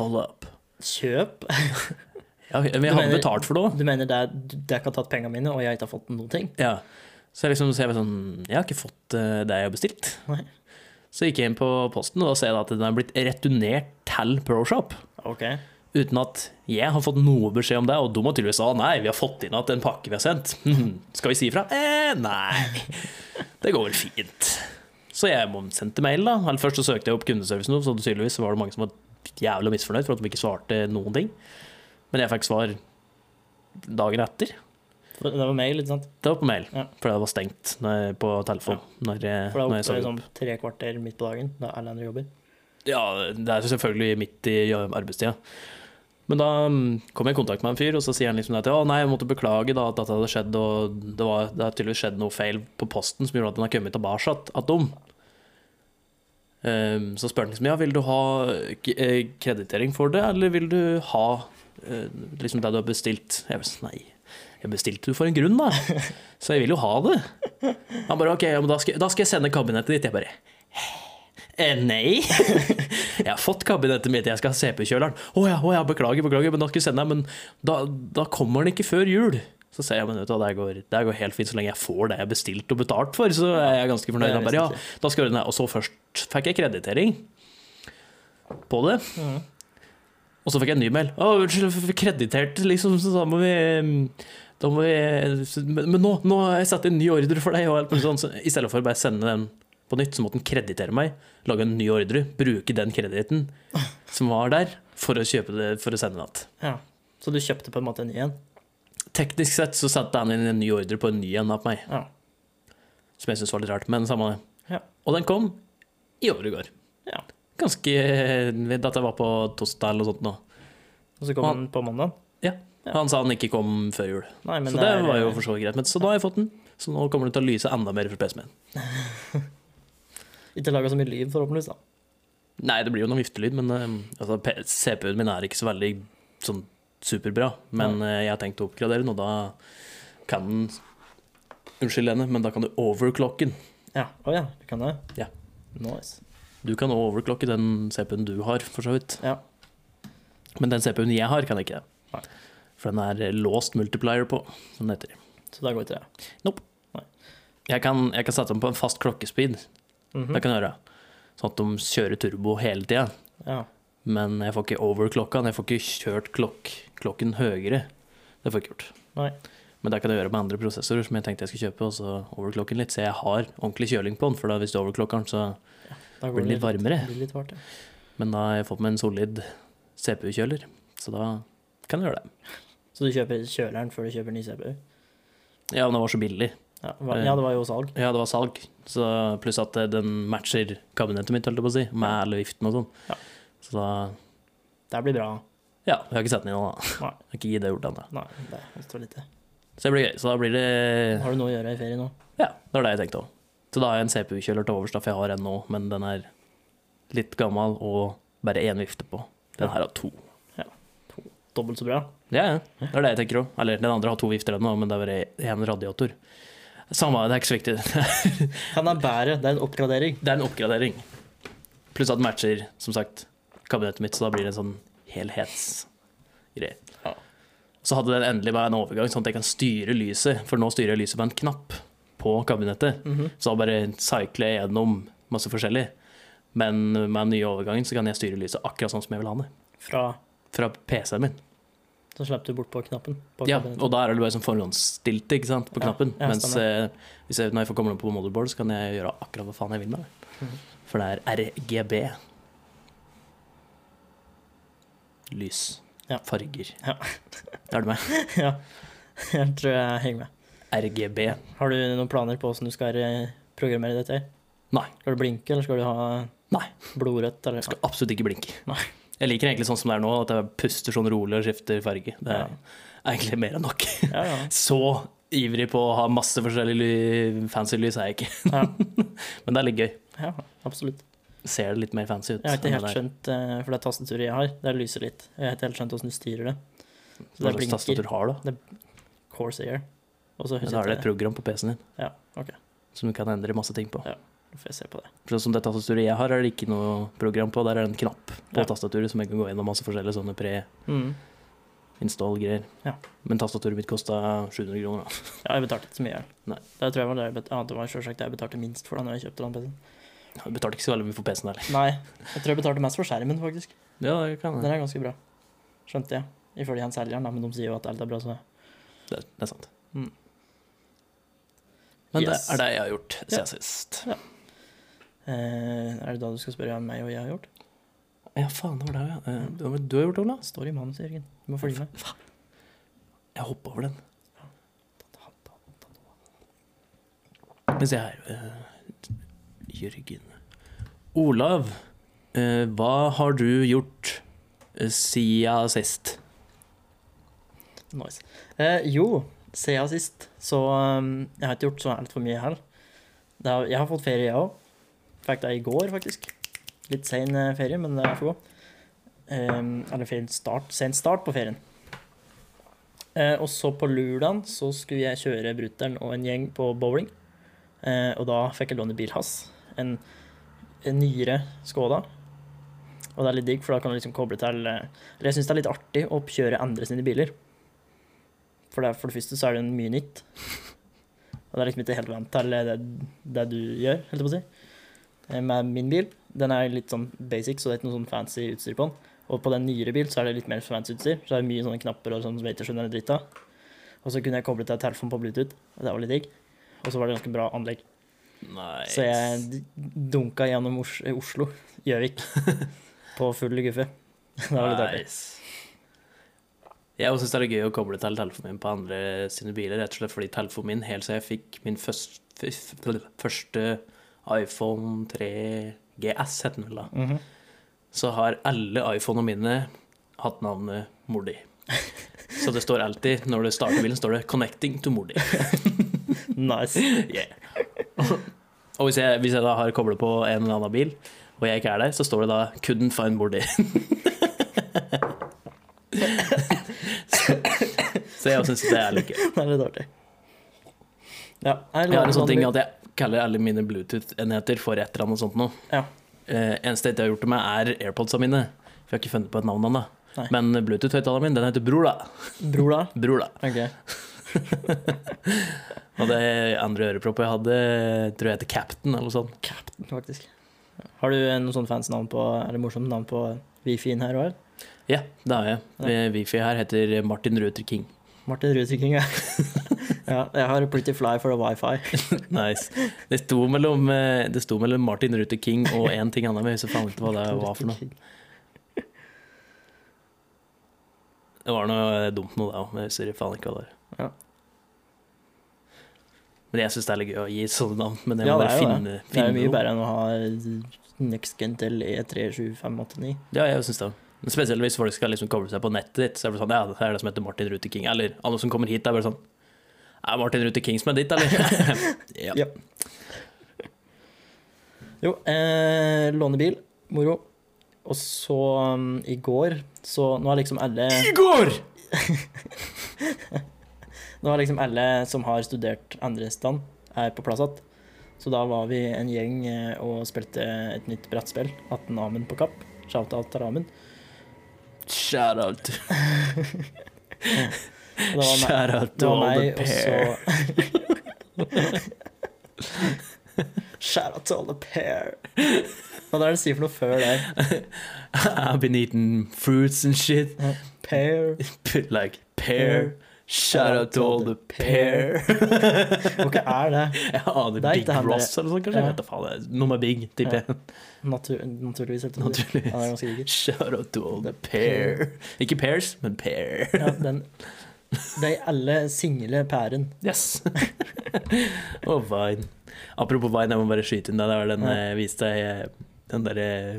[SPEAKER 1] Hold up.
[SPEAKER 2] Kjøp?
[SPEAKER 1] Ja, men
[SPEAKER 2] Du
[SPEAKER 1] jeg hadde
[SPEAKER 2] mener-
[SPEAKER 1] betalt for det òg.
[SPEAKER 2] Du mener det er dere har tatt pengene mine, og jeg ikke har fått noen ting?
[SPEAKER 1] Ja. Så jeg liksom så jeg var sånn Jeg har ikke fått eh, det jeg har bestilt.
[SPEAKER 2] Nei.
[SPEAKER 1] Så gikk jeg inn på posten, og da ser jeg da at den er blitt returnert til ProShop.
[SPEAKER 2] OK.
[SPEAKER 1] Uten at jeg har fått noe beskjed om det, og de har tydeligvis sa nei, vi har fått inn at en pakke vi har sendt. «Hm, Skal vi si ifra? Eh, nei. Det går vel fint. Så jeg må- sendte mail, da. Eller først så søkte jeg opp kundeservicen, så tydeligvis var det mange som var jævlig misfornøyd for at de ikke svarte noen ting. Men jeg fikk svar dagen etter.
[SPEAKER 2] For Det var mail, ikke sant?
[SPEAKER 1] Det var på mail,
[SPEAKER 2] Ja.
[SPEAKER 1] for det var stengt når jeg, på telefon. Når jeg,
[SPEAKER 2] For det
[SPEAKER 1] når
[SPEAKER 2] er
[SPEAKER 1] jeg så
[SPEAKER 2] oppe
[SPEAKER 1] det.
[SPEAKER 2] sånn tre kvarter midt på dagen, da alle andre jobber.
[SPEAKER 1] Ja, det er selvfølgelig midt i arbeidstida. Men da mm, kom jeg i kontakt med en fyr, og så sier han liksom at å nei, jeg måtte beklage da at dette hadde skjedd, og det, var, det har tydeligvis skjedd noe feil på posten som gjorde at den har kommet tilbake att- attom. Ehm, så spør han liksom ja, vil du ha k- eh, kreditering for det, eller vil du ha eh, liksom det du har bestilt? Jeg bare sånn, nei, jeg bestilte det for en grunn, da. Så jeg vil jo ha det. Han bare ok, ja, men da skal, da skal jeg sende kabinettet ditt. Jeg bare Eh, nei. Jeg har fått kabinettet mitt, jeg skal ha CP-kjøleren. Å ja, å ja, beklager, beklager, men da skal jeg sende deg. Men da, da kommer den ikke før jul. Så sier jeg men vet du, hva, det her går, det her går helt fint, så lenge jeg får det jeg har bestilt og betalt for, så er jeg ganske fornøyd.
[SPEAKER 2] Det er
[SPEAKER 1] Han bare ja,
[SPEAKER 2] vesentlig.
[SPEAKER 1] da skal du ned. Og så først fikk jeg kreditering på det.
[SPEAKER 2] Mhm.
[SPEAKER 1] Og så fikk jeg en ny mail. Å, unnskyld, vi fikk kreditert, liksom. Så da må vi da må vi, men men nå, nå har jeg satt inn ny ordre for deg. Og alt mulig sånn. Så I stedet for å bare sende den på nytt, så måtte den kreditere meg. Lage en ny ordre, bruke den krediten som var der, for å, kjøpe det, for å sende det igjen.
[SPEAKER 2] Ja. Så du kjøpte på en måte en ny en?
[SPEAKER 1] Teknisk sett så satte han inn en ny ordre på en ny en av meg,
[SPEAKER 2] Ja.
[SPEAKER 1] som jeg syntes var litt rart, men samme det.
[SPEAKER 2] Ja.
[SPEAKER 1] Og den kom i overgår.
[SPEAKER 2] Ja.
[SPEAKER 1] Ganske eh, Dette var på torsdag eller noe sånt nå.
[SPEAKER 2] Og så kom
[SPEAKER 1] Han-
[SPEAKER 2] den på mandag? Ja.
[SPEAKER 1] Han sa han ikke kom før jul.
[SPEAKER 2] Nei, men
[SPEAKER 1] så det,
[SPEAKER 2] er- eh,
[SPEAKER 1] var jo for så vidt greit. Men så da har jeg fått den. Så nå kommer det til å lyse enda mer fra PC-en min.
[SPEAKER 2] Ikke laga så mye lyd, forhåpentligvis. da.
[SPEAKER 1] Nei, det blir jo noe viftelyd, men eh, altså, P- CPU-en min er ikke så veldig sånn superbra. Men eh, jeg har tenkt å oppgradere den, og da kan den Unnskyld, Lene, men da kan du overclocke den.
[SPEAKER 2] Ja. Å ja, du kan det?
[SPEAKER 1] Ja.
[SPEAKER 2] Nice.
[SPEAKER 1] Du kan overclocke den CPU-en du har, for så vidt.
[SPEAKER 2] Ja.
[SPEAKER 1] Men den CPU-en jeg har, kan jeg ikke
[SPEAKER 2] Nei.
[SPEAKER 1] det. For den er eh, låst multiplier på, som det heter.
[SPEAKER 2] Så da går ikke det.
[SPEAKER 1] Jeg kan, jeg kan sette dem på en fast klokkespeed.
[SPEAKER 2] Mhm.
[SPEAKER 1] Det kan jeg gjøre. Sånn at de kjører turbo hele tida.
[SPEAKER 2] Mhm. Ja.
[SPEAKER 1] Men jeg får ikke overklokka den. Jeg får ikke kjørt klokk, klokken høyere. Det får jeg ikke gjort.
[SPEAKER 2] Nei.
[SPEAKER 1] Men det kan jeg gjøre med andre prosessorer som jeg tenkte jeg skulle kjøpe, og så overklokke den litt. Så jeg har ordentlig kjøling på den, for da hvis du overklokker den, så
[SPEAKER 2] Da går
[SPEAKER 1] blir den litt varmere.
[SPEAKER 2] Blir litt varmt, ja.
[SPEAKER 1] Men da har jeg fått meg en solid CPU-kjøler, så da kan jeg gjøre det.
[SPEAKER 2] Så du kjøper kjøleren før du kjøper ny CPU?
[SPEAKER 1] Ja, men det var så billig.
[SPEAKER 2] Ja, hva- ja, det var jo salg.
[SPEAKER 1] Ja, det var salg. Så pluss at eh, den matcher kabinettet mitt, holdt jeg på å si, med alle viftene og sånn.
[SPEAKER 2] Ja.
[SPEAKER 1] Så da
[SPEAKER 2] Det blir bra.
[SPEAKER 1] Ja, jeg har ikke sett den ennå, da.
[SPEAKER 2] Nei.
[SPEAKER 1] Jeg har ikke gitt det gjort ennå.
[SPEAKER 2] Nei, det står lite.
[SPEAKER 1] Så det blir gøy. Så da blir det
[SPEAKER 2] Har du noe å gjøre i ferie nå?
[SPEAKER 1] Ja, det var det jeg tenkte òg. Så da har jeg en CPU-kjøler til overs, da, for jeg har en nå, men den er litt gammel og bare én vifte på. Den her har to.
[SPEAKER 2] Dobbelt så bra?
[SPEAKER 1] Ja, ja. Det er det jeg tenker òg. Eller den andre har to vifter ennå, men det er bare én radiator. Samme, det er ikke så viktig.
[SPEAKER 2] Han er bedre. Det er en oppgradering.
[SPEAKER 1] Det er en oppgradering. Pluss at den matcher, som sagt, kabinettet mitt, så da blir det en sånn helhetsgreie.
[SPEAKER 2] Ja.
[SPEAKER 1] Så hadde den endelig bare en overgang, sånn at jeg kan styre lyset, for nå styrer jeg lyset med en knapp på kabinettet. Så da bare cykler jeg gjennom masse forskjellig. Men med den nye overgangen så kan jeg styre lyset akkurat sånn som jeg vil ha det.
[SPEAKER 2] Fra
[SPEAKER 1] Fra PC-en min.
[SPEAKER 2] Så slipper du bort på knappen. På
[SPEAKER 1] Ja,
[SPEAKER 2] kabinettet.
[SPEAKER 1] og da er det bare sånn forhåndsstilt ikke sant, på
[SPEAKER 2] Ja,
[SPEAKER 1] knappen.
[SPEAKER 2] ja,
[SPEAKER 1] Mens
[SPEAKER 2] stemmer.
[SPEAKER 1] eh, hvis jeg, når jeg får koble på motherboard, så kan jeg gjøre akkurat hva faen jeg vil med det.
[SPEAKER 2] Mhm.
[SPEAKER 1] For det er RGB. Lys.
[SPEAKER 2] Ja.
[SPEAKER 1] Farger.
[SPEAKER 2] Ja.
[SPEAKER 1] er du med?
[SPEAKER 2] ja. Jeg tror jeg henger med.
[SPEAKER 1] RGB.
[SPEAKER 2] Har du noen planer på hvordan du skal eh, programmere dette? her?
[SPEAKER 1] Nei.
[SPEAKER 2] Skal du blinke, eller skal du ha
[SPEAKER 1] Nei.
[SPEAKER 2] blodrødt? Eller?
[SPEAKER 1] Skal absolutt ikke blinke.
[SPEAKER 2] Nei.
[SPEAKER 1] Jeg liker egentlig sånn som det er nå, at jeg puster sånn rolig og skifter farge. Det er
[SPEAKER 2] Ja.
[SPEAKER 1] egentlig mer enn nok.
[SPEAKER 2] Ja, ja.
[SPEAKER 1] Så ivrig på å ha masse forskjellig ly fancy lys er jeg ikke.
[SPEAKER 2] Ja.
[SPEAKER 1] Men det er litt gøy.
[SPEAKER 2] ja, absolutt.
[SPEAKER 1] Ser det litt mer fancy ut.
[SPEAKER 2] Jeg har ikke
[SPEAKER 1] enn
[SPEAKER 2] helt
[SPEAKER 1] det der.
[SPEAKER 2] skjønt, eh, for det er tastaturet jeg har, det lyser litt. Jeg har ikke helt skjønt hvordan du styrer det.
[SPEAKER 1] Hva
[SPEAKER 2] Så det
[SPEAKER 1] slags
[SPEAKER 2] blinker
[SPEAKER 1] tastatur har du?
[SPEAKER 2] Corsair. Og så
[SPEAKER 1] Men Da er det et
[SPEAKER 2] husker jeg
[SPEAKER 1] program på PC-en din
[SPEAKER 2] Ja, ok.
[SPEAKER 1] som du kan endre masse ting på.
[SPEAKER 2] Ja. Nå får jeg se på det.
[SPEAKER 1] For sånn som det tastaturet jeg har, er det ikke noe program på. Der er det en knapp på
[SPEAKER 2] Ja.
[SPEAKER 1] tastaturet som jeg kan gå gjennom masse forskjellige sånne
[SPEAKER 2] Mm.
[SPEAKER 1] pre-install-greier.
[SPEAKER 2] Ja.
[SPEAKER 1] Men tastaturet mitt kosta 700 kroner. da.
[SPEAKER 2] Ja, jeg betalte ikke så mye. jeg.
[SPEAKER 1] Nei.
[SPEAKER 2] Det tror jeg var det jeg bet- ja, det var selvsagt det jeg betalte minst for da når jeg kjøpte den PC-en.
[SPEAKER 1] Jeg betalte ikke så veldig mye for PC-en heller.
[SPEAKER 2] Nei, jeg tror jeg betalte mest for skjermen, faktisk.
[SPEAKER 1] Ja, det kan
[SPEAKER 2] Den
[SPEAKER 1] jeg.
[SPEAKER 2] er ganske bra. Skjønte jeg. Ifølge han selgeren, da, men de sier jo at alt er bra, så
[SPEAKER 1] Det, det er sant.
[SPEAKER 2] Mm.
[SPEAKER 1] Men
[SPEAKER 2] Yes.
[SPEAKER 1] det er det jeg har gjort
[SPEAKER 2] Ja.
[SPEAKER 1] siden sist.
[SPEAKER 2] eh, Er det da du skal spørre om meg og jeg har gjort?
[SPEAKER 1] Ja, faen, det var det, ja. Eh,
[SPEAKER 2] Mm.
[SPEAKER 1] hva var det Du har gjort, Ola?
[SPEAKER 2] Det står i manuset, Jørgen. Du må følge med.
[SPEAKER 1] Jeg hoppa over den. Men se her eh, Jørgen. Olav, eh, hva har du gjort eh, siden sist?
[SPEAKER 2] Nice. Eh, jo, siden sist, så um, Jeg har ikke gjort så altfor mye her. Det har- Jeg har fått ferie, jeg òg. Fikk det i går, faktisk. Litt sein eh, ferie, men det er for god. Ehm, eller fin start, sen start på ferien. Eh, og så på lørdagen så skulle jeg kjøre brutter'n og en gjeng på bowling. Eh, og da fikk jeg låne bilen hans. En, en nyere Skoda. Og det er litt digg, for da kan du liksom koble til eh, Eller jeg syns det er litt artig å kjøre andre sine biler. For det, er- for det første så er det mye nytt. Og det er liksom ikke helt vant til det, det du gjør, holdt jeg på å si. Eh, Med min bil. Den er litt sånn basic, så det er ikke noe sånn fancy utstyr på den. Og på den nyere bil så er det litt mer fancy utstyr. Så det er mye sånne knapper og sånn som jeg ikke skjønner en dritt av. Og så kunne jeg koble til telefonen på Bluetooth, og det var litt digg. Og så var det ganske bra anlegg.
[SPEAKER 1] Nei
[SPEAKER 2] Så jeg d- dunka gjennom Os Oslo, Gjøvik, på full guffe. Det var litt artig.
[SPEAKER 1] Nice. Jeg også synes det er gøy å koble til telefonen min på andre sine biler, rett og slett fordi telefonen min, helt siden jeg fikk min først, f- f- første iPhone 3 GS, het den vel da,
[SPEAKER 2] Mhm.
[SPEAKER 1] så har alle iPhonene mine hatt navnet mor di. Så det står alltid, når du starter bilen, står det 'connecting to mor di'.
[SPEAKER 2] Nice.
[SPEAKER 1] Yeah. Og hvis jeg, hvis jeg da har koblet på en eller annen bil, og jeg ikke er der, så står det da 'couldn't find Mordi'. så, så jeg syns det er litt gøy.
[SPEAKER 2] Det er litt artig. Ja. nei,
[SPEAKER 1] Jeg har en
[SPEAKER 2] la-
[SPEAKER 1] sånn ting at jeg kaller alle mine Bluetooth-enheter for et eller annet sånt noe.
[SPEAKER 2] Ja.
[SPEAKER 1] Eh, eneste jeg ikke har gjort det med, er AirPodsa mine. For jeg har ikke funnet på et navn ennå.
[SPEAKER 2] Nei.
[SPEAKER 1] Men Bluetooth-høyttaleren min, den heter Bror, da.
[SPEAKER 2] Bror, da?
[SPEAKER 1] Bror, da.
[SPEAKER 2] Ok.
[SPEAKER 1] Og det andre øreproppet jeg hadde, tror jeg heter Captain, eller noe sånt.
[SPEAKER 2] Captain, faktisk. Har du eh, noen sånne fans navn på Er det morsomt navn på eh, Wifien her òg?
[SPEAKER 1] Ja, det har jeg. Eh, Wifi her heter Martin Ruther King.
[SPEAKER 2] Martin Rudtryking, ja. ja. Jeg har Pretty Fly for the Wifi.
[SPEAKER 1] Nice. Det sto mellom, eh, det sto mellom Martin Ruther King og en ting annet, men jeg husker faen ikke hva det var for noe. Det var noe eh, dumt noe, det òg, men jeg husker faen ikke hva det var.
[SPEAKER 2] Ja.
[SPEAKER 1] Men jeg syns det er litt gøy å gi sånne navn, men jeg
[SPEAKER 2] Ja,
[SPEAKER 1] må
[SPEAKER 2] det
[SPEAKER 1] bare
[SPEAKER 2] er jo
[SPEAKER 1] finne,
[SPEAKER 2] Det er
[SPEAKER 1] finne
[SPEAKER 2] jo mye
[SPEAKER 1] noe.
[SPEAKER 2] bedre enn å ha Next Gen til E E37589.
[SPEAKER 1] Ja, jeg syns det. Men Spesielt hvis folk skal liksom koble seg på nettet ditt, så er det sånn Ja, det er det som heter Martin Ruther King. Eller alle som kommer hit, er bare sånn Er Martin Ruther King som er ditt, eller? ja.
[SPEAKER 2] Ja. Jo, eh, låne bil. Moro. Og så um, i går Så nå er liksom alle
[SPEAKER 1] Igor!
[SPEAKER 2] Nå er liksom alle som har studert andre stand, er på plass igjen. Så da var vi en gjeng eh, og spilte et nytt brettspill, 18 Amund på Kapp. Shout-out til Amund.
[SPEAKER 1] Shout out.
[SPEAKER 2] Og Det var meg,
[SPEAKER 1] Shout out
[SPEAKER 2] det
[SPEAKER 1] to
[SPEAKER 2] var
[SPEAKER 1] all the
[SPEAKER 2] meg og
[SPEAKER 1] pair.
[SPEAKER 2] så Shout-out to all the pair. Hva er det du sier for noe før der?
[SPEAKER 1] I've been eating fruits and shit.
[SPEAKER 2] Pair.
[SPEAKER 1] like pear. Shout out to all the pear.
[SPEAKER 2] Hva er det?
[SPEAKER 1] Jeg aner
[SPEAKER 2] Det er
[SPEAKER 1] Big
[SPEAKER 2] ikke han der.
[SPEAKER 1] Ross eller noe sånt, kanskje.
[SPEAKER 2] Ja.
[SPEAKER 1] Jeg vet da faen. det er Noe med Big, tipper jeg.
[SPEAKER 2] Natur naturligvis, helt naturlig. Ja, det er
[SPEAKER 1] Naturligvis.
[SPEAKER 2] ganske digert.
[SPEAKER 1] Shout out to all the
[SPEAKER 2] The
[SPEAKER 1] pear. Ikke pears, men pear.
[SPEAKER 2] Ja, den, de alle single pæren.
[SPEAKER 1] Yes. og vine. Apropos vine, jeg må bare skyte inn det. Det var den
[SPEAKER 2] Ja.
[SPEAKER 1] jeg viste deg, eh, den derre eh,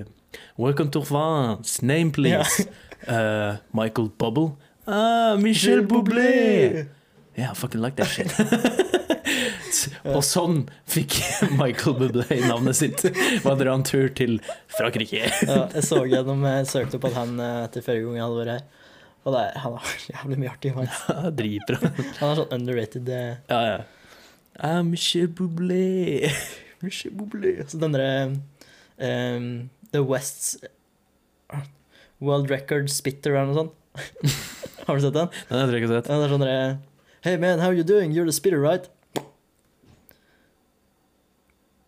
[SPEAKER 1] Welcome to France, name please. Eh, Michael Bubble. Ah, Michel Bublé! Yeah, I fucking like that shit. S- og sånn fikk Michael Bublé navnet sitt. Hva drar han tur til Frankrike?
[SPEAKER 2] Ja, jeg så gjennom, jeg søkte opp at han eh, etter forrige gang jeg hadde vært her. Og det, er- han har jævlig mye artig. faktisk.
[SPEAKER 1] Dritbra.
[SPEAKER 2] Han er sånn underrated. eh,
[SPEAKER 1] Ja, ja. Ah, Michel Bublé. Michel Bublé.
[SPEAKER 2] Så den derre ehm, The Wests ah, World Record Spitter eller noe sånt. Har du sett den?
[SPEAKER 1] Den har jeg ikke sett.
[SPEAKER 2] Ja, det er sånn derre Hey man, how you doing? You're the spitter, right?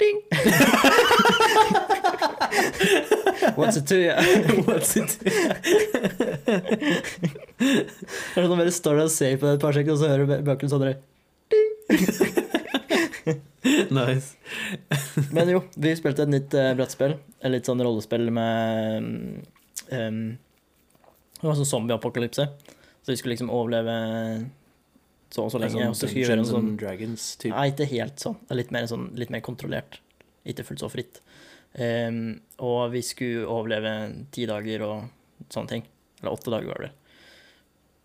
[SPEAKER 2] Ding! What's it to you?
[SPEAKER 1] What's it?
[SPEAKER 2] Det er sånn bare står der og ser på det et par sekunder, og så hører du i bakgrunnen sånn derre
[SPEAKER 1] Nice.
[SPEAKER 2] Men jo, vi spilte et nytt eh, brettspill. Et litt sånn rollespill med mm, em, Det var sånn zombie-apokalypse. Så vi skulle liksom overleve så og så lenge. Og så skulle vi gjøre en sånn
[SPEAKER 1] Dragons-type.
[SPEAKER 2] Nei, ikke helt sånn. Det er Litt mer, sånn, litt mer kontrollert. Ikke fullt så fritt. Em, og vi skulle overleve ti dager og sånne ting. Eller åtte dager, var det.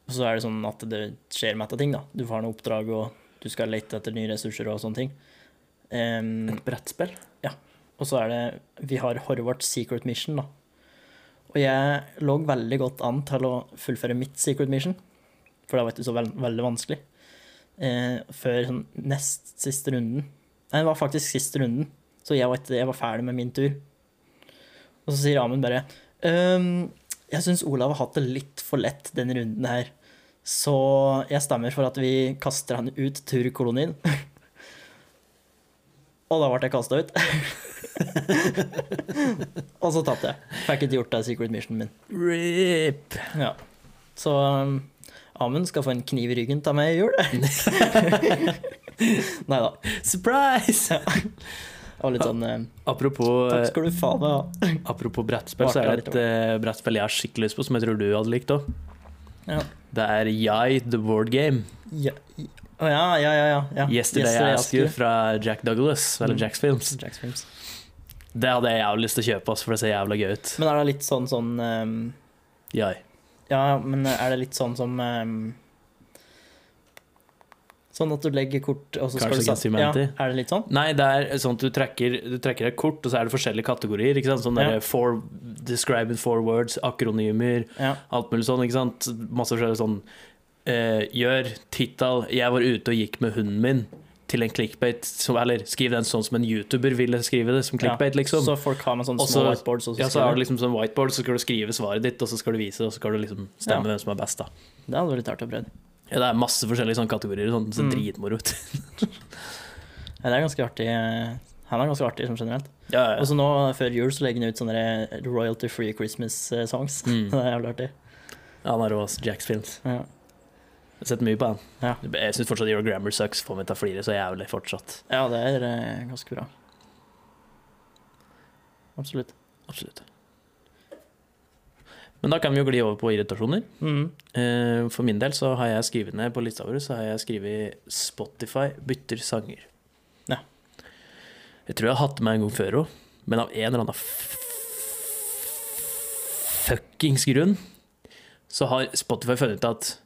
[SPEAKER 2] Og så er det sånn at det skjer mett av ting, da. Du får noen oppdrag, og du skal lete etter nye ressurser og sånne ting. Em,
[SPEAKER 1] Et brettspill?
[SPEAKER 2] Og så er det Vi har Horvaths secret mission, da. Og jeg lå veldig godt an til å fullføre mitt secret mission, for det var ikke så vel- veldig vanskelig, eh, før sånn nest siste runden. Nei, det var faktisk siste runden, så jeg var, ikke, jeg var ferdig med min tur. Og så sier Amund bare «Øhm, Jeg syns Olav har hatt det litt for lett denne runden her, så jeg stemmer for at vi kaster han ut turkolonien. Og da ble jeg kasta ut. og så tapte jeg. Fikk ikke gjort det secret missionen min.
[SPEAKER 1] Rip!
[SPEAKER 2] Ja. Så um, Amund skal få en kniv i ryggen av meg i jul. Nei da.
[SPEAKER 1] Surprise!
[SPEAKER 2] Det var litt sånn eh,
[SPEAKER 1] Apropos,
[SPEAKER 2] Takk skal du faen meg ha.
[SPEAKER 1] apropos brettspill, så er det et eh, brettspill jeg har skikkelig lyst på, som jeg tror du hadde likt òg.
[SPEAKER 2] Ja.
[SPEAKER 1] Det er Jeg, The Board Game.
[SPEAKER 2] Ja, Å ja, Ah, ja, ja, ja, ja.
[SPEAKER 1] 'Yesterday I Asked You' fra Jack Douglas, eller
[SPEAKER 2] Mm.
[SPEAKER 1] Jacks Films.
[SPEAKER 2] Jack's Films.
[SPEAKER 1] Det hadde jeg jævlig lyst til å kjøpe, ass, for det ser jævla gøy ut.
[SPEAKER 2] Men er det litt sånn sånn ehm,
[SPEAKER 1] Jeg.
[SPEAKER 2] Ja, men er det litt sånn som ehm, Sånn at du legger kort og så skal
[SPEAKER 1] Cards
[SPEAKER 2] du
[SPEAKER 1] Against
[SPEAKER 2] sat-
[SPEAKER 1] Humanity.
[SPEAKER 2] Ja, er det litt sånn?
[SPEAKER 1] Nei, det er sånn at du trekker, du trekker et kort, og så er det forskjellige kategorier. ikke sant? Sånn
[SPEAKER 2] Ja.
[SPEAKER 1] der, four, Describe in four words, akronymer,
[SPEAKER 2] Ja.
[SPEAKER 1] alt mulig sånn. ikke sant? Masse forskjellige sånn eh, Gjør tittel 'Jeg var ute og gikk med hunden min' til en clickbait. Som, eller skriv den sånn som en YouTuber ville skrive det, som clickbait, liksom.
[SPEAKER 2] Så folk har med sånne
[SPEAKER 1] Også-
[SPEAKER 2] små whiteboards og så
[SPEAKER 1] ja, så har du
[SPEAKER 2] skriver de.
[SPEAKER 1] liksom sånn whiteboard, så skal du skrive svaret ditt, og så skal du vise det, og så skal du liksom stemme hvem som er best, da.
[SPEAKER 2] Det hadde vært litt artig å prøve.
[SPEAKER 1] Ja, det er masse forskjellige sånne kategorier. Sånn, så
[SPEAKER 2] Mm.
[SPEAKER 1] dritmoro ut.
[SPEAKER 2] Ja, det er ganske artig. eh, Han er ganske artig som generelt.
[SPEAKER 1] ja, ja.
[SPEAKER 2] Og så nå før jul så legger han ut sånne der royalty free Christmas eh, songs.
[SPEAKER 1] Mm.
[SPEAKER 2] Det er jævlig artig.
[SPEAKER 1] Ja, han er rå, ass. Jacks Films.
[SPEAKER 2] Ja.
[SPEAKER 1] Jeg har sett mye på han.
[SPEAKER 2] Ja.
[SPEAKER 1] Jeg syns fortsatt Your Grammar Sucks får meg til å flire så jævlig fortsatt.
[SPEAKER 2] ja, det er eh, ganske bra. Absolutt.
[SPEAKER 1] Absolutt. Men da kan vi jo gli over på irritasjoner.
[SPEAKER 2] Mm.
[SPEAKER 1] Eh, For min del så har jeg skrevet ned på lista vår så har jeg skrevet Spotify bytter sanger.
[SPEAKER 2] Ja.
[SPEAKER 1] Jeg tror jeg har hatt det med en gang før òg, men av en eller annen f- fuckings grunn så har Spotify funnet ut at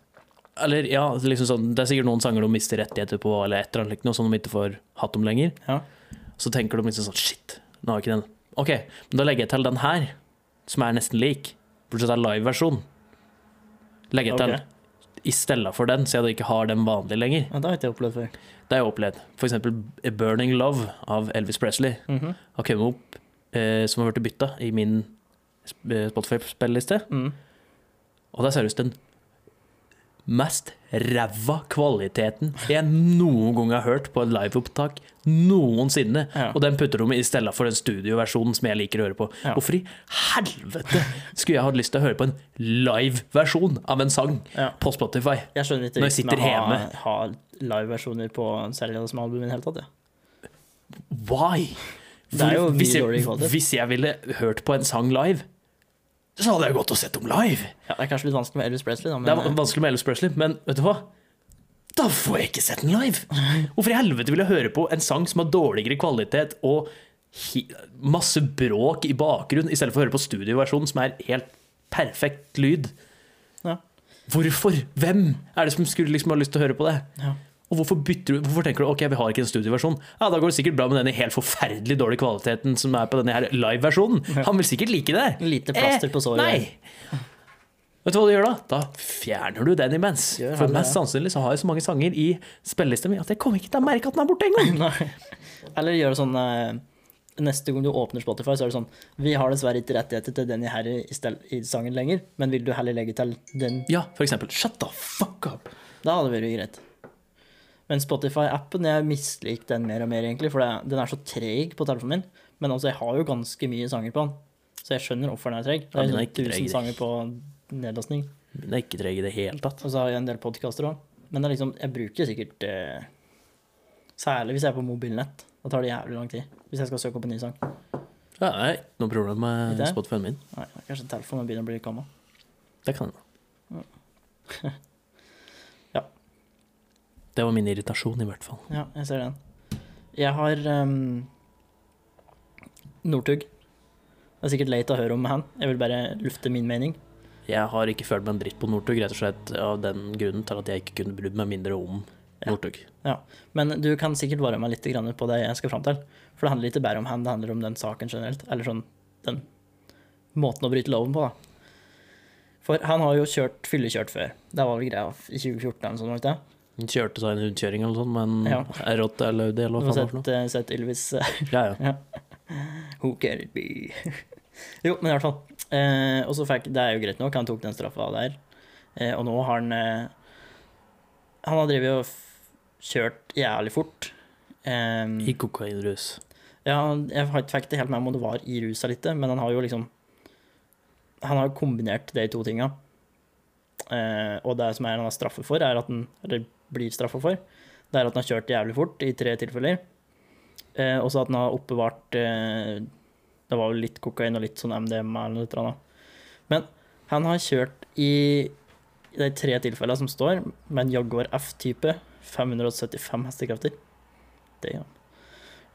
[SPEAKER 1] Eller ja, liksom sånn, det er sikkert noen sanger de mister rettigheter på, eller et eller annet likt noe som de ikke får hatt om lenger.
[SPEAKER 2] Ja.
[SPEAKER 1] Så tenker de liksom sånn Shit, nå har jeg ikke den. OK, men da legger jeg til den her, som er nesten lik, bortsett fra liveversjon. Legger jeg til
[SPEAKER 2] Ok.
[SPEAKER 1] den i stedet for den, så jeg da ikke har den vanlig lenger.
[SPEAKER 2] Ja, det har ikke jeg opplevd før.
[SPEAKER 1] Det har jeg opplevd. For eksempel A 'Burning Love' av Elvis Presley
[SPEAKER 2] Mhm.
[SPEAKER 1] har kommet opp eh, som har blitt bytta i min sp- eh, Spotify-spilleliste.
[SPEAKER 2] Mm.
[SPEAKER 1] Og det er seriøst den mest ræva kvaliteten jeg noen gang har hørt på et liveopptak noensinne.
[SPEAKER 2] Ja.
[SPEAKER 1] Og den putter de i stedet for den studioversjonen som jeg liker å høre på.
[SPEAKER 2] Ja.
[SPEAKER 1] Hvorfor i helvete skulle jeg hatt lyst til å høre på en liveversjon av en sang
[SPEAKER 2] Ja.
[SPEAKER 1] på Spotify?
[SPEAKER 2] Jeg skjønner
[SPEAKER 1] Når jeg
[SPEAKER 2] ikke vitsen
[SPEAKER 1] sitter
[SPEAKER 2] med å ha,
[SPEAKER 1] hjemme.
[SPEAKER 2] ha liveversjoner på særlig det som albumet i det hele tatt. Ja.
[SPEAKER 1] Why?
[SPEAKER 2] Det er jo
[SPEAKER 1] Hvor- hvis,
[SPEAKER 2] mye dårligere
[SPEAKER 1] jeg,
[SPEAKER 2] kvalitet.
[SPEAKER 1] hvis jeg ville hørt på en sang live, så hadde jeg gått og sett dem live.
[SPEAKER 2] Ja, det er kanskje litt vanskelig med Elvis Presley, da, men eh,
[SPEAKER 1] Det er vanskelig med Elvis Presley, men vet du hva? Da får jeg ikke sett den live! Hvorfor i helvete vil jeg høre på en sang som har dårligere kvalitet og hi masse bråk i bakgrunnen, i stedet for å høre på studioversjonen, som er helt perfekt lyd?
[SPEAKER 2] eh, Ja.
[SPEAKER 1] Hvorfor? Hvem er det som skulle liksom ha lyst til å høre på det?
[SPEAKER 2] Ja.
[SPEAKER 1] Og hvorfor, bytter du, hvorfor tenker du ok, vi har ikke en studioversjon? Ja, Da går det sikkert bra med denne helt forferdelig dårlige kvaliteten som er på denne her liveversjonen. Han vil sikkert like det. Eh,
[SPEAKER 2] Lite plaster på såret.
[SPEAKER 1] Nei. Vet du hva du gjør da? Da fjerner du den imens.
[SPEAKER 2] Gjør han
[SPEAKER 1] For
[SPEAKER 2] det,
[SPEAKER 1] mest
[SPEAKER 2] ja.
[SPEAKER 1] sannsynlig så har jeg så mange sanger i spillelista mi at jeg kommer ikke til å merke at den er borte engang.
[SPEAKER 2] Nei. Eller gjøre sånn eh, Neste gang du åpner Spotify, så er det sånn Vi har dessverre ikke rettigheter til denne her i, stel- i sangen lenger, men vil du heller legge til den?
[SPEAKER 1] Ja, for eksempel. Shut the fuck up.
[SPEAKER 2] Da hadde det vært greit. Men Spotify-appen, jeg misliker den mer og mer, egentlig, for det, den er så treg på telefonen min. Men altså, jeg har jo ganske mye sanger på den, så jeg skjønner hvorfor den er treg.
[SPEAKER 1] Ja,
[SPEAKER 2] Det er
[SPEAKER 1] den er
[SPEAKER 2] sånn
[SPEAKER 1] ikke treg,
[SPEAKER 2] 1000
[SPEAKER 1] det.
[SPEAKER 2] sanger på nedlastning.
[SPEAKER 1] Men det er ikke treg i det hele tatt.
[SPEAKER 2] Og så har jeg en del podkaster òg. Men det er liksom, jeg bruker sikkert eh, Særlig hvis jeg er på mobilnett. Da tar det jævlig lang tid. Hvis jeg skal søke opp en ny sang.
[SPEAKER 1] Ja, det er ikke noe problem
[SPEAKER 2] Ikke
[SPEAKER 1] med
[SPEAKER 2] det?
[SPEAKER 1] Spotify-en min.
[SPEAKER 2] Nei, kanskje telefonen begynner å bli gammel.
[SPEAKER 1] Det kan jeg.
[SPEAKER 2] Ja.
[SPEAKER 1] Det var min irritasjon, i hvert fall.
[SPEAKER 2] Ja, jeg ser den. Jeg har ehm, Northug. Det er sikkert leit å høre om han. Jeg vil bare lufte min mening.
[SPEAKER 1] Jeg har ikke følt meg en dritt på Northug, rett og slett av den grunnen til at jeg ikke kunne brydd meg mindre om
[SPEAKER 2] Ja.
[SPEAKER 1] Northug.
[SPEAKER 2] Men du kan sikkert være med litt grann på det jeg skal fram til. For det handler ikke bare om han, det handler om den saken generelt. Eller sånn den måten å bryte loven på, da. For han har jo kjørt fyllekjørt før. Det var vel greia i 2014 eller noe sånt, var det ikke det?
[SPEAKER 1] Hun kjørte seg en rundkjøring eller noe sånt, men
[SPEAKER 2] Ja.
[SPEAKER 1] er rått eller Audi eller
[SPEAKER 2] Du
[SPEAKER 1] hva faen
[SPEAKER 2] har
[SPEAKER 1] det var for
[SPEAKER 2] sett, eh, sett Ylvis eh,
[SPEAKER 1] noe. Ja, ja.
[SPEAKER 2] Who can it be? jo, men i hvert fall. Eh, og så fikk Det er jo greit nok, han tok den straffa der. Eh, og nå har han eh, Han har drevet og f kjørt jævlig fort. Eh,
[SPEAKER 1] I kokainrus.
[SPEAKER 2] ja, jeg har ikke- fikk det helt med meg om det var i rusa litt, men han har jo liksom Han har jo kombinert de to tinga. Eh, og det som er han er straffet for, er at han eller blir straffa for, det er at han har kjørt jævlig fort i tre tilfeller. Eh, og så at han har oppbevart eh, Det var jo litt kokain og litt sånn MDMA eller noe sånt. da. Men han har kjørt i i de tre tilfellene som står, med en Jaguar F-type, 575 hestekrefter. Det, ja.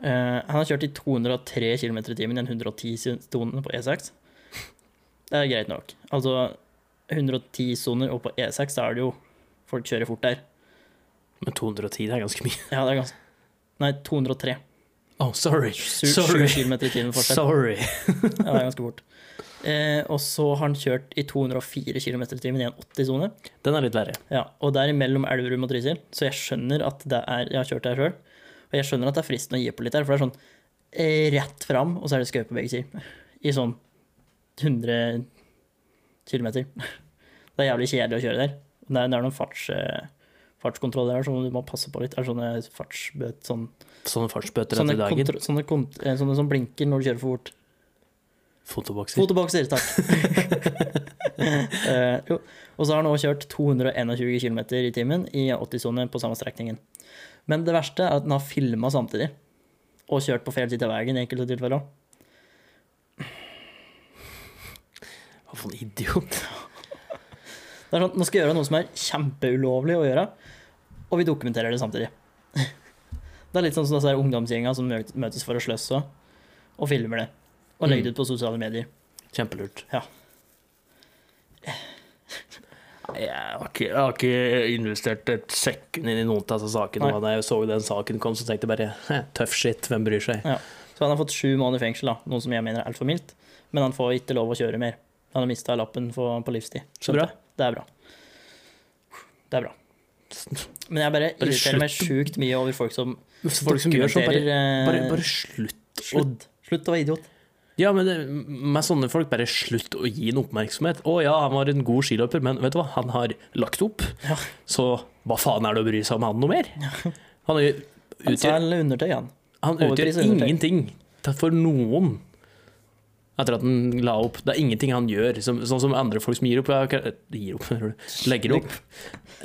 [SPEAKER 2] Eh, han har kjørt i 203 km i timen i en 110-sone på E6. Det er greit nok. Altså, 110-soner og på E6, da er det jo Folk kjører fort der.
[SPEAKER 1] Men 210, det er ganske mye.
[SPEAKER 2] Ja, det er ganske Nei, 203.
[SPEAKER 1] Oh, sorry.
[SPEAKER 2] 7
[SPEAKER 1] Sorry.
[SPEAKER 2] km i timen forskjell.
[SPEAKER 1] Sorry.
[SPEAKER 2] Ja, det er ganske fort. Eh, og så har han kjørt i 204 km i timen i en 80-sone.
[SPEAKER 1] Den er litt verre.
[SPEAKER 2] Ja, og der imellom Elverum og Trysil. Så jeg skjønner at det er Jeg har kjørt der sjøl. Og jeg skjønner at det er fristende å gi opp litt der, for det er sånn eh, rett fram, og så er det skau på begge sider. I sånn 100 km. Det er jævlig kjedelig å kjøre der. Det er, det er noen farts, eh, fartskontroller der som du må passe på litt. Det er sånne fartsbøt... Sånn,
[SPEAKER 1] Sånne fartsbøter
[SPEAKER 2] sånne,
[SPEAKER 1] etter dagen.
[SPEAKER 2] kontro- sånne, kont- eh, sånne som blinker når du kjører for fort.
[SPEAKER 1] Fotobokser.
[SPEAKER 2] Fotobokser, takk. Eh, jo. Og så har han også kjørt 221 km i timen i 80-sone på samme strekningen. Men det verste er at han har filma samtidig, og kjørt på feil side av veien i enkelte tilfeller. også.
[SPEAKER 1] Hva for en idiot.
[SPEAKER 2] Det er sånn, nå skal jeg gjøre noe som er kjempeulovlig å gjøre, og vi dokumenterer det samtidig. det er litt sånn som disse her ungdomsgjenga som mø- møtes for å sløse, og filmer det. Og legger det ut på sosiale medier.
[SPEAKER 1] Kjempelurt.
[SPEAKER 2] Ja.
[SPEAKER 1] Nei, Jeg har, ikke, jeg har ikke investert et sekund inn i noen av disse sakene.
[SPEAKER 2] Nei.
[SPEAKER 1] Da jeg så den saken kom, så tenkte jeg bare «Hæ, tøff shit, hvem bryr seg?
[SPEAKER 2] Så han har fått sju måneder fengsel, da, noe som jeg mener er altfor mildt. Men han får ikke lov å kjøre mer. Han har mista lappen for, på livstid.
[SPEAKER 1] Så bra.
[SPEAKER 2] Det er bra. Det er bra. Men jeg bare
[SPEAKER 1] Bare
[SPEAKER 2] irriterer meg sjukt mye over folk som
[SPEAKER 1] Folk som gjør sånn, bare,
[SPEAKER 2] dokumenterer, eh,
[SPEAKER 1] bare, bare slutt.
[SPEAKER 2] slutt. Slutt å være idiot.
[SPEAKER 1] Ja, men det, med sånne folk, bare slutt å gi den oppmerksomhet. Å ja, han var en god skiløper, men vet du hva, han har lagt opp.
[SPEAKER 2] Ja.
[SPEAKER 1] Så hva faen er det å bry seg om han noe mer? Han er-
[SPEAKER 2] Han sa
[SPEAKER 1] utgjør,
[SPEAKER 2] en undertøy, han.
[SPEAKER 1] han
[SPEAKER 2] overpris
[SPEAKER 1] utgjør
[SPEAKER 2] og undertøy.
[SPEAKER 1] ingenting for noen. Etter at han la opp. Det er ingenting han gjør. Som, sånn som andre folk som gir opp. Ja, ok, gir opp hører du. Legger opp.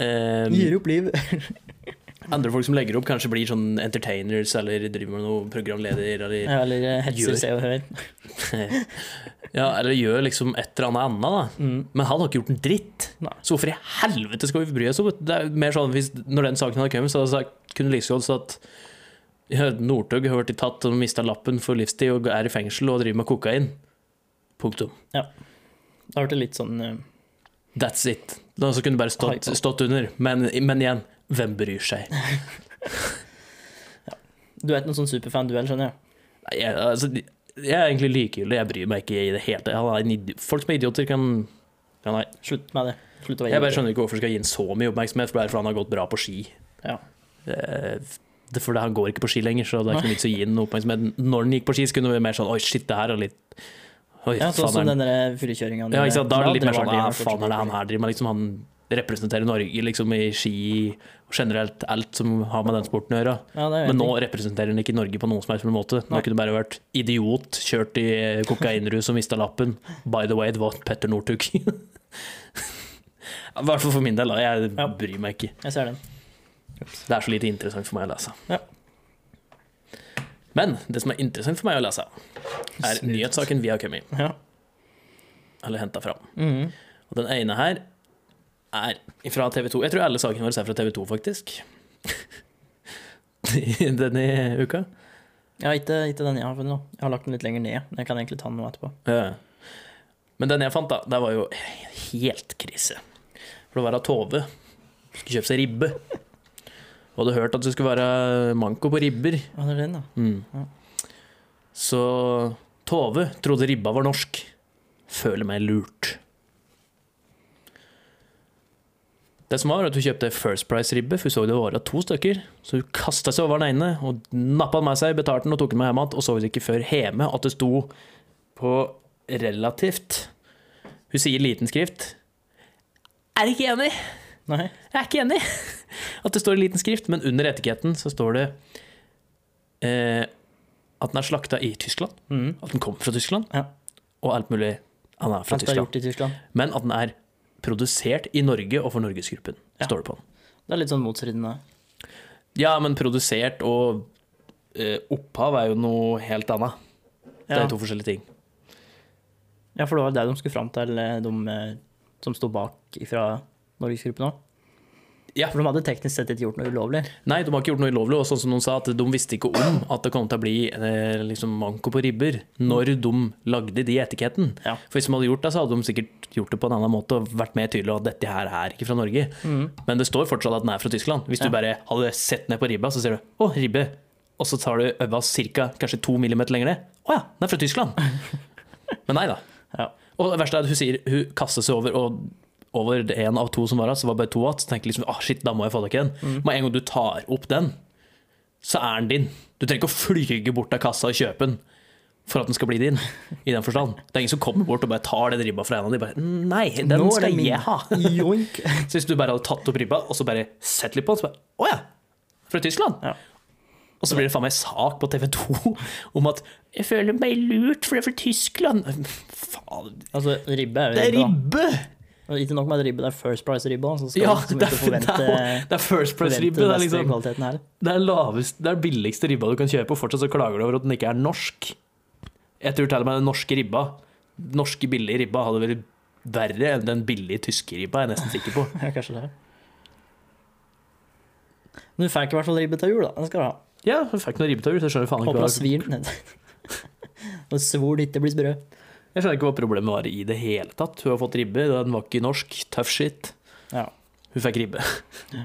[SPEAKER 1] Eh,
[SPEAKER 2] Gir opp liv.
[SPEAKER 1] andre folk som legger opp, kanskje blir sånn entertainers eller driver med noe programleder eller
[SPEAKER 2] Eller eh,
[SPEAKER 1] Gjør.
[SPEAKER 2] hetser Se og Hør.
[SPEAKER 1] Ja, eller gjør liksom et eller annet annet, da.
[SPEAKER 2] Mm.
[SPEAKER 1] Men han har ikke gjort en dritt.
[SPEAKER 2] Nei.
[SPEAKER 1] Så hvorfor i helvete skal vi bry oss om det? Det er jo mer sånn hvis, Når den saken hadde kommet, så hadde jeg sagt, kunne det like så godt sagt ja, Northug har blitt tatt og mista lappen for livstid og er i fengsel og driver med kokain. Punktum.
[SPEAKER 2] Det har vært litt sånn eh,
[SPEAKER 1] That's it. Da så kunne det bare stått,
[SPEAKER 2] Hype.
[SPEAKER 1] stått under. Men, men igjen, hvem bryr seg?
[SPEAKER 2] Du er ikke noen sånn superfan, du heller, skjønner jeg.
[SPEAKER 1] Nei, Jeg, altså, jeg er egentlig likegyldig. Jeg bryr meg ikke i det hele tatt. Han er en idi- Folk som er idioter, kan ja, Nei.
[SPEAKER 2] Slutt med det. Slutt å være
[SPEAKER 1] Jeg bare
[SPEAKER 2] idiot.
[SPEAKER 1] skjønner ikke hvorfor jeg skal gi ham så mye oppmerksomhet, for det er fordi han har gått bra på ski.
[SPEAKER 2] Ja.
[SPEAKER 1] Eh, Det er fordi han går ikke på ski lenger, så det er ikke noe vits å gi ham noe oppmerksomhet. Når han gikk på ski, så kunne det være mer sånn Oi, shit, det her er litt Oi,
[SPEAKER 2] Ja, sånn som
[SPEAKER 1] faen er
[SPEAKER 2] den der fyllekjøringa.
[SPEAKER 1] ja, ikke sant? Da er det litt mer sånn
[SPEAKER 2] drev
[SPEAKER 1] Ja,
[SPEAKER 2] han driver
[SPEAKER 1] faen er det han her driver med? Liksom, han representerer Norge liksom, i ski og generelt alt som har med den sporten å gjøre.
[SPEAKER 2] Ja, det er jo
[SPEAKER 1] Men
[SPEAKER 2] en
[SPEAKER 1] nå
[SPEAKER 2] ting.
[SPEAKER 1] representerer han ikke Norge på noen som helst måte. Nå
[SPEAKER 2] Nei.
[SPEAKER 1] kunne det bare vært idiot, kjørt i kokainrus og mista lappen. By the way, det var Petter Northug. I hvert fall for min del. da. Jeg
[SPEAKER 2] Ja.
[SPEAKER 1] bryr meg ikke.
[SPEAKER 2] Jeg ser den.
[SPEAKER 1] Det er så lite interessant for meg å lese.
[SPEAKER 2] Ja.
[SPEAKER 1] Men det som er interessant for meg å lese, er
[SPEAKER 2] Snut.
[SPEAKER 1] nyhetssaken vi har kommet i,
[SPEAKER 2] Ja.
[SPEAKER 1] eller henta fram.
[SPEAKER 2] Mhm.
[SPEAKER 1] Og den ene her er fra TV 2. Jeg tror alle sakene våre er fra TV 2, faktisk. Denne uka.
[SPEAKER 2] Ja, ikke, ikke den jeg har funnet nå. Jeg har lagt den litt lenger ned. men Jeg kan egentlig ta den nå etterpå.
[SPEAKER 1] Ja. Men den jeg fant, da, det var jo helt krise. For det var av Tove. Skulle kjøpe seg ribbe. Og hadde hørt at det skulle være manko på ribber.
[SPEAKER 2] Ja, det er den, ja. Ja.
[SPEAKER 1] Mm. Så Tove trodde ribba var norsk. Føler meg lurt. Det som var, var at hun kjøpte First Price-ribbe, for hun så det var av to stykker. Så hun kasta seg over den ene og nappa den med seg, betalte den og tok den med hjem igjen. Og så det ikke før hjemme at det sto på relativt Hun sier i liten skrift Er ikke enig!
[SPEAKER 2] Nei.
[SPEAKER 1] Jeg er ikke enig at det står i liten skrift, men under etiketten så står det eh, at den er slakta i Tyskland,
[SPEAKER 2] Mm.
[SPEAKER 1] at den kommer fra Tyskland,
[SPEAKER 2] Ja.
[SPEAKER 1] og alt mulig annet fra
[SPEAKER 2] Alt er
[SPEAKER 1] Tyskland.
[SPEAKER 2] gjort i Tyskland.
[SPEAKER 1] Men at den er produsert i Norge og for Norgesgruppen,
[SPEAKER 2] Ja.
[SPEAKER 1] står det på den.
[SPEAKER 2] Det er litt sånn motstridende.
[SPEAKER 1] Ja, men produsert og eh, opphav er jo noe helt annet. Det
[SPEAKER 2] Ja.
[SPEAKER 1] er to forskjellige ting.
[SPEAKER 2] ja, for det var det de skulle fram til, eh, de eh, som sto bak fra Norgesgruppen òg.
[SPEAKER 1] Ja.
[SPEAKER 2] For de hadde teknisk sett ikke gjort noe ulovlig.
[SPEAKER 1] Nei, de har ikke gjort noe ulovlig, og sånn som noen sa, at de visste ikke om at det kom til å bli eh, liksom manko på ribber når de lagde de etiketten.
[SPEAKER 2] Ja.
[SPEAKER 1] For hvis de hadde gjort det, så hadde de sikkert gjort det på en annen måte og vært mer tydelig at dette her er ikke fra Norge. Men det står fortsatt at den er fra Tyskland. Hvis
[SPEAKER 2] Mm. Ja.
[SPEAKER 1] du bare hadde sett ned på ribba, så ser du 'Å, ribbe', og så tar du øva ca. kanskje to millimeter lenger ned. 'Å ja, den er fra Tyskland'. Men nei da.
[SPEAKER 2] Ja.
[SPEAKER 1] Og det verste er at hun sier hun kastet seg over, og over det en av to som var her, så var det bare to igjen. Så tenker jeg liksom ah, shit, da må jeg få tak i den.
[SPEAKER 2] Mm.
[SPEAKER 1] Men en gang du tar opp den, så er den din. Du trenger ikke å flyge bort av kassa og kjøpe den for at den skal bli din, i den forstand. Det er ingen som kommer bort og bare tar den ribba fra en av de bare Nei, den
[SPEAKER 2] Nå er
[SPEAKER 1] skal
[SPEAKER 2] det min.
[SPEAKER 1] jeg ha.
[SPEAKER 2] Joink.
[SPEAKER 1] Så hvis du bare hadde tatt opp ribba, og så bare sett litt på den, så bare Å ja! Fra Tyskland?
[SPEAKER 2] Ja.
[SPEAKER 1] Og så blir det faen meg sak på TV 2 om at 'Jeg føler meg lurt, for det er fra Tyskland'. Faen,
[SPEAKER 2] Altså, ribbe er jo
[SPEAKER 1] det er
[SPEAKER 2] ribbe. da.
[SPEAKER 1] ribbe!
[SPEAKER 2] Og Ikke nok med at ribbe, det er First Price-ribbe. Så skal
[SPEAKER 1] Ja,
[SPEAKER 2] man liksom
[SPEAKER 1] det
[SPEAKER 2] ikke
[SPEAKER 1] er, det,
[SPEAKER 2] forvente,
[SPEAKER 1] er, jo- det er first price
[SPEAKER 2] forvente
[SPEAKER 1] ribbe. Det
[SPEAKER 2] den
[SPEAKER 1] er,
[SPEAKER 2] beste
[SPEAKER 1] liksom,
[SPEAKER 2] kvaliteten her.
[SPEAKER 1] det er lavest, det er billigste ribba du kan kjøpe, og fortsatt så klager du over at den ikke er norsk. Jeg tror til og med den norske ribba, norske billige ribba, hadde vært verre enn den billige tyske ribba, jeg er nesten sikker på.
[SPEAKER 2] Ja, kanskje det. Men du fikk i hvert fall ribbe til jul, da. Den skal du ha.
[SPEAKER 1] Ja, jeg fikk noen ribbetur, så jeg skjønner faen ikke
[SPEAKER 2] Håper
[SPEAKER 1] hva,
[SPEAKER 2] du svir den. Og svor det ikke blir sprø.
[SPEAKER 1] jeg skjønner ikke hva problemet var i det hele tatt. Hun har fått ribbe, den var ikke norsk, tough shit.
[SPEAKER 2] Ja.
[SPEAKER 1] Hun fikk ribbe.
[SPEAKER 2] Ja.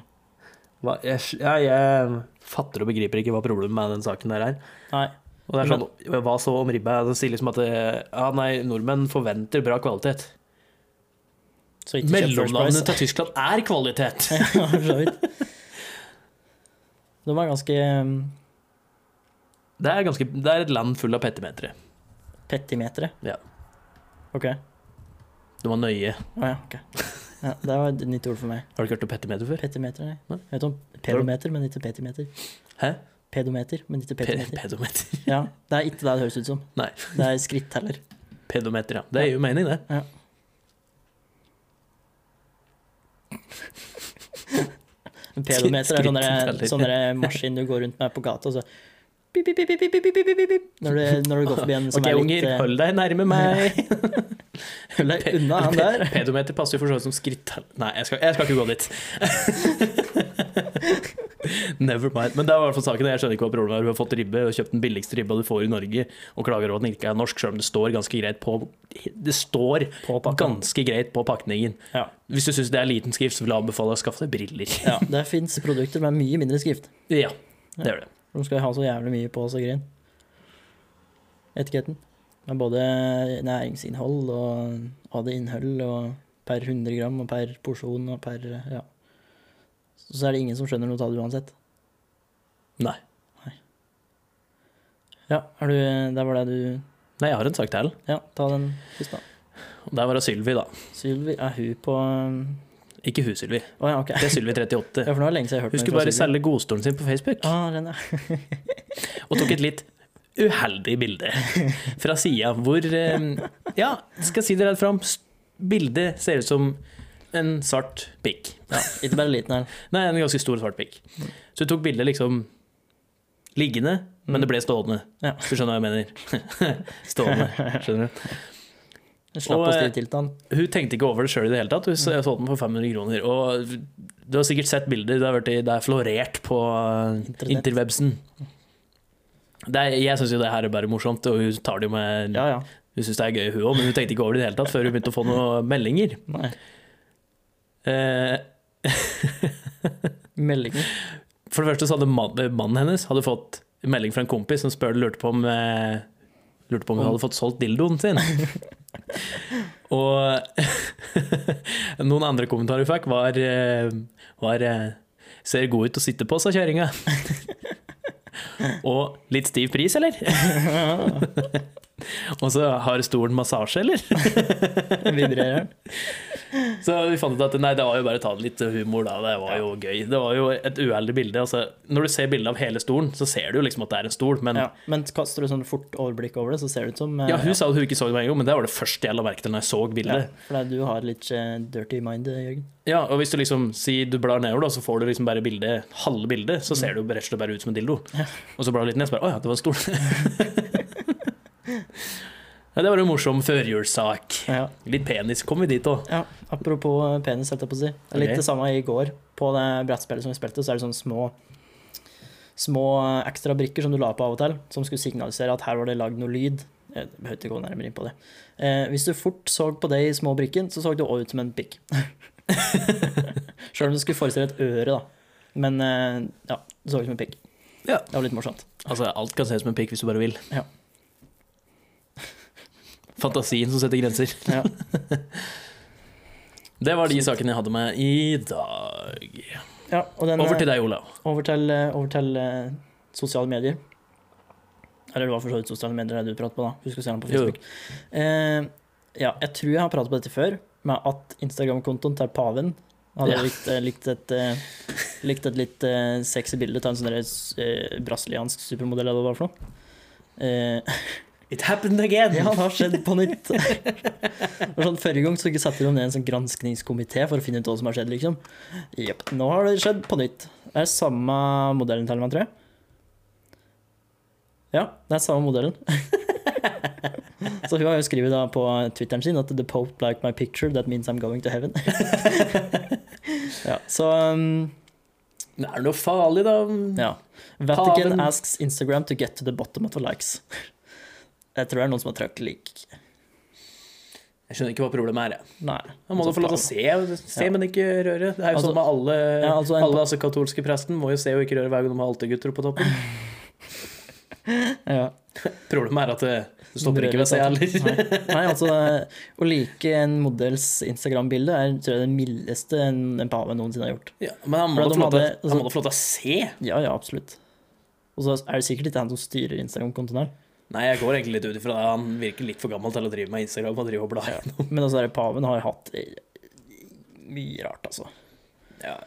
[SPEAKER 1] Hva, jeg, jeg, jeg fatter og begriper ikke hva problemet med den saken der er.
[SPEAKER 2] Nei.
[SPEAKER 1] Og det er sånn, Hva så om ribba? Det sier liksom at det, ja, nei, nordmenn forventer bra kvalitet.
[SPEAKER 2] Så ikke kjøp First
[SPEAKER 1] Mellomnavnet
[SPEAKER 2] Price.
[SPEAKER 1] til Tyskland er kvalitet!
[SPEAKER 2] Ja, for så vidt. De er ganske um,
[SPEAKER 1] Det er, ganske, det er et land full av petimetere.
[SPEAKER 2] petimetere.
[SPEAKER 1] Ja.
[SPEAKER 2] OK. Å
[SPEAKER 1] Du må nøye.
[SPEAKER 2] ja, ok. Ja, det var et nytt ord for meg.
[SPEAKER 1] Har du ikke hørt om petimeter før?
[SPEAKER 2] Petimeter, nei.
[SPEAKER 1] Nei.
[SPEAKER 2] Jeg vet om pedometer, men ikke petimeter.
[SPEAKER 1] Hæ?
[SPEAKER 2] Pedometer, men ikke
[SPEAKER 1] Pe-
[SPEAKER 2] petimeter.
[SPEAKER 1] Pedometer.
[SPEAKER 2] Ja, Det er ikke det det høres ut som.
[SPEAKER 1] Nei.
[SPEAKER 2] Det er skritteller.
[SPEAKER 1] Pedometer, ja. Det gir jo mening, det.
[SPEAKER 2] Ja. En Pedometer er sånn der- sånn der maskin du går rundt med på gata, og så pip, pip, pip, pip, pip, pip, pip, pip, pip, når, du, når du går forbi en som
[SPEAKER 1] Ok,
[SPEAKER 2] er litt
[SPEAKER 1] unger,
[SPEAKER 2] eh,
[SPEAKER 1] hold deg nærme meg!
[SPEAKER 2] Hold deg unna han
[SPEAKER 1] Pe-
[SPEAKER 2] der.
[SPEAKER 1] Pedometer passer jo for så vidt som skritt... Nei, jeg skal, jeg skal ikke gå dit. Never mind. Men det er i hvert fall saken. Jeg skjønner ikke hva problemet er. Du har fått ribbe, og kjøpt den billigste ribba du får i Norge, og klager over at den ikke er norsk, selv om det står ganske greit på Det står
[SPEAKER 2] På pakka.
[SPEAKER 1] ganske greit på pakningen.
[SPEAKER 2] Ja.
[SPEAKER 1] Hvis du syns det er liten skrift, så vil jeg anbefale deg å skaffe deg briller.
[SPEAKER 2] ja, det fins produkter med mye mindre skrift.
[SPEAKER 1] Ja, det gjør det.
[SPEAKER 2] De skal ha så jævlig mye på så grin. Etiketten. Med både næringsinnhold og AD-innhold og per 100 gram og per porsjon og per Ja. Så er det ingen som skjønner noe av det uansett.
[SPEAKER 1] Nei.
[SPEAKER 2] Ja, har du Der var det du
[SPEAKER 1] Nei, jeg har en sak til.
[SPEAKER 2] Ja, ta den først, da.
[SPEAKER 1] Og Der var det Sylvi, da.
[SPEAKER 2] Sylvi Er hun på Å
[SPEAKER 1] Ikke hun, Sylvi.
[SPEAKER 2] ja, ok.
[SPEAKER 1] Det er Sylvi
[SPEAKER 2] Ja,
[SPEAKER 1] 38.
[SPEAKER 2] for nå er det lenge siden jeg har hørt
[SPEAKER 1] Hun
[SPEAKER 2] noe
[SPEAKER 1] skulle
[SPEAKER 2] fra
[SPEAKER 1] bare
[SPEAKER 2] Sylvi.
[SPEAKER 1] selge godstolen sin på Facebook.
[SPEAKER 2] Ah, den er.
[SPEAKER 1] og tok et litt uheldig bilde fra sida, hvor eh, Ja, skal si det rett fram, s- bildet ser ut som en svart pikk.
[SPEAKER 2] Ja, ikke bare liten her.
[SPEAKER 1] Nei, en ganske stor svart pikk. Så hun tok bildet liksom liggende, men det ble stående.
[SPEAKER 2] Ja.
[SPEAKER 1] Hvis Du skjønner hva jeg mener. stående, skjønner du.
[SPEAKER 2] Jeg slapp
[SPEAKER 1] Og,
[SPEAKER 2] å
[SPEAKER 1] eh,
[SPEAKER 2] stille til til han.
[SPEAKER 1] Hun tenkte ikke over det sjøl i det hele tatt. Hun s- solgte den for 500 kroner. Og du har sikkert sett bilder, det, har vært i, det er florert på eh,
[SPEAKER 2] Internett.
[SPEAKER 1] interwebsen. Det er, jeg syns jo det her er bare morsomt, og hun tar det jo med
[SPEAKER 2] Ja, ja.
[SPEAKER 1] Hun syntes det er gøy, hun òg, men hun tenkte ikke over det i det hele tatt før hun begynte å få noen meldinger.
[SPEAKER 2] Nei.
[SPEAKER 1] Eh,
[SPEAKER 2] Meldinger.
[SPEAKER 1] For det første så hadde man- mannen hennes hadde fått en melding fra en kompis som spør, lurte på om, eh, lurte på om hun
[SPEAKER 2] Om-
[SPEAKER 1] hadde fått solgt dildoen sin. Og noen andre kommentarer vi fikk, var, eh, var eh, Ser god ut å sitte på, sa kjerringa. Og litt stiv pris, eller? Og så har stolen massasje, eller?
[SPEAKER 2] Videre her.
[SPEAKER 1] Så vi fant ut at nei, det var jo bare å ta det litt humor, da. Det var jo gøy. Det var jo et uheldig bilde. Altså, når du ser bildet av hele stolen, så ser du jo liksom at det er en stol, men ja.
[SPEAKER 2] ja. Men kaster du sånn fort overblikk over det, så ser det ut som eh,
[SPEAKER 1] hun sa at hun ikke så det med en gang, men det var det første jeg la merke til når jeg så
[SPEAKER 2] ja,
[SPEAKER 1] bildet.
[SPEAKER 2] For det er- du har litt eh, dirty mind, eh, Jørgen.
[SPEAKER 1] Ja, Og hvis du liksom sier du blar nedover, da, så får du liksom bare bildet, halve bildet, så ser det jo rett og slett bare ut som en dildo.
[SPEAKER 2] Mm. Ja.
[SPEAKER 1] Og så blar du litt ned, så bare Å ja, det var en stol. ja, det var en morsom førjulssak.
[SPEAKER 2] Ja.
[SPEAKER 1] Litt penis. Kom vi dit òg?
[SPEAKER 2] Ja, apropos eh, penis, holdt jeg på å si. Det er Litt
[SPEAKER 1] Ok.
[SPEAKER 2] det samme i går. På det brettspillet som vi spilte, så er det sånne små Små eh, ekstra brikker som du la på av og til, som skulle signalisere at her var det lagd noe lyd. Eh, Jeg behøver ikke gå nærmere inn på det. Eh, hvis du fort så på de små brikkene, så så det òg ut som en pikk. Sjøl om du skulle forestille et øre, da. Men eh, ja, det så ut som en pikk.
[SPEAKER 1] Ja.
[SPEAKER 2] Det var litt morsomt.
[SPEAKER 1] Altså, alt kan ses som en pikk hvis du bare vil.
[SPEAKER 2] Ja.
[SPEAKER 1] Fantasien som setter grenser.
[SPEAKER 2] Ja.
[SPEAKER 1] Det var de sakene jeg hadde med i dag.
[SPEAKER 2] Ja, og den, eh,
[SPEAKER 1] Over til deg, Olav.
[SPEAKER 2] Over til, over til eh, sosiale medier. Eller det var for så vidt sosiale medier det du pratet på, da. Husk å se den på
[SPEAKER 1] Jo, jo.
[SPEAKER 2] Facebook. Eh, ja, jeg tror jeg har pratet på dette før, med at Instagram-kontoen til paven hadde
[SPEAKER 1] Ja.
[SPEAKER 2] likt, eh, likt, et, eh, likt et litt eh, sexy bilde av en sånn der, eh, brasiliansk supermodell, eller hva det var for noe. Eh,
[SPEAKER 1] It happened again!
[SPEAKER 2] ja, det har skjedd på nytt. Det var sånn, Forrige gang så satte de ned en sånn granskningskomité for å finne ut hva som har skjedd. liksom. Jepp, nå har det skjedd på nytt. Det er samme modellen til meg, tror jeg. Ja, det er samme modellen. så hun har jo skrevet da på Twitteren sin at 'The Pope liked my picture, that means I'm going to heaven'. ja, så... um,
[SPEAKER 1] Det er noe farlig, da.
[SPEAKER 2] ja. Vatican
[SPEAKER 1] Paven-
[SPEAKER 2] asks Instagram to get to the bottom of the likes. Jeg tror det er noen som har trykket lik.
[SPEAKER 1] Jeg skjønner ikke hva problemet er. jeg.
[SPEAKER 2] Nei.
[SPEAKER 1] Da må du få lov til å se, se
[SPEAKER 2] Altså, Ja.
[SPEAKER 1] men ikke røre. Det er jo
[SPEAKER 2] Altså-
[SPEAKER 1] sånn med alle,
[SPEAKER 2] Ja, altså en-
[SPEAKER 1] alle altså, katolske presten må jo se og ikke røre hver gang de har altergutter på toppen.
[SPEAKER 2] Ja.
[SPEAKER 1] Problemet er at eh, det, det stopper ikke ved seg heller.
[SPEAKER 2] Nei. Nei, altså Å like en models Instagram-bilde er tror jeg, det mildeste en, en pave noensinne har gjort.
[SPEAKER 1] Ja, men han må da
[SPEAKER 2] For de
[SPEAKER 1] få lov til-
[SPEAKER 2] hadde- altså-
[SPEAKER 1] han må da få lov til å se.
[SPEAKER 2] Ja, ja, absolutt. Og så er det sikkert ikke han som styrer Instagram-kontoen her.
[SPEAKER 1] Nei, jeg går egentlig litt ut ifra det. Han virker litt for gammel til å drive med Instagram og drive og bla gjennom.
[SPEAKER 2] Men altså, der, paven har hatt eh, mye rart, altså.
[SPEAKER 1] Ja.
[SPEAKER 2] Og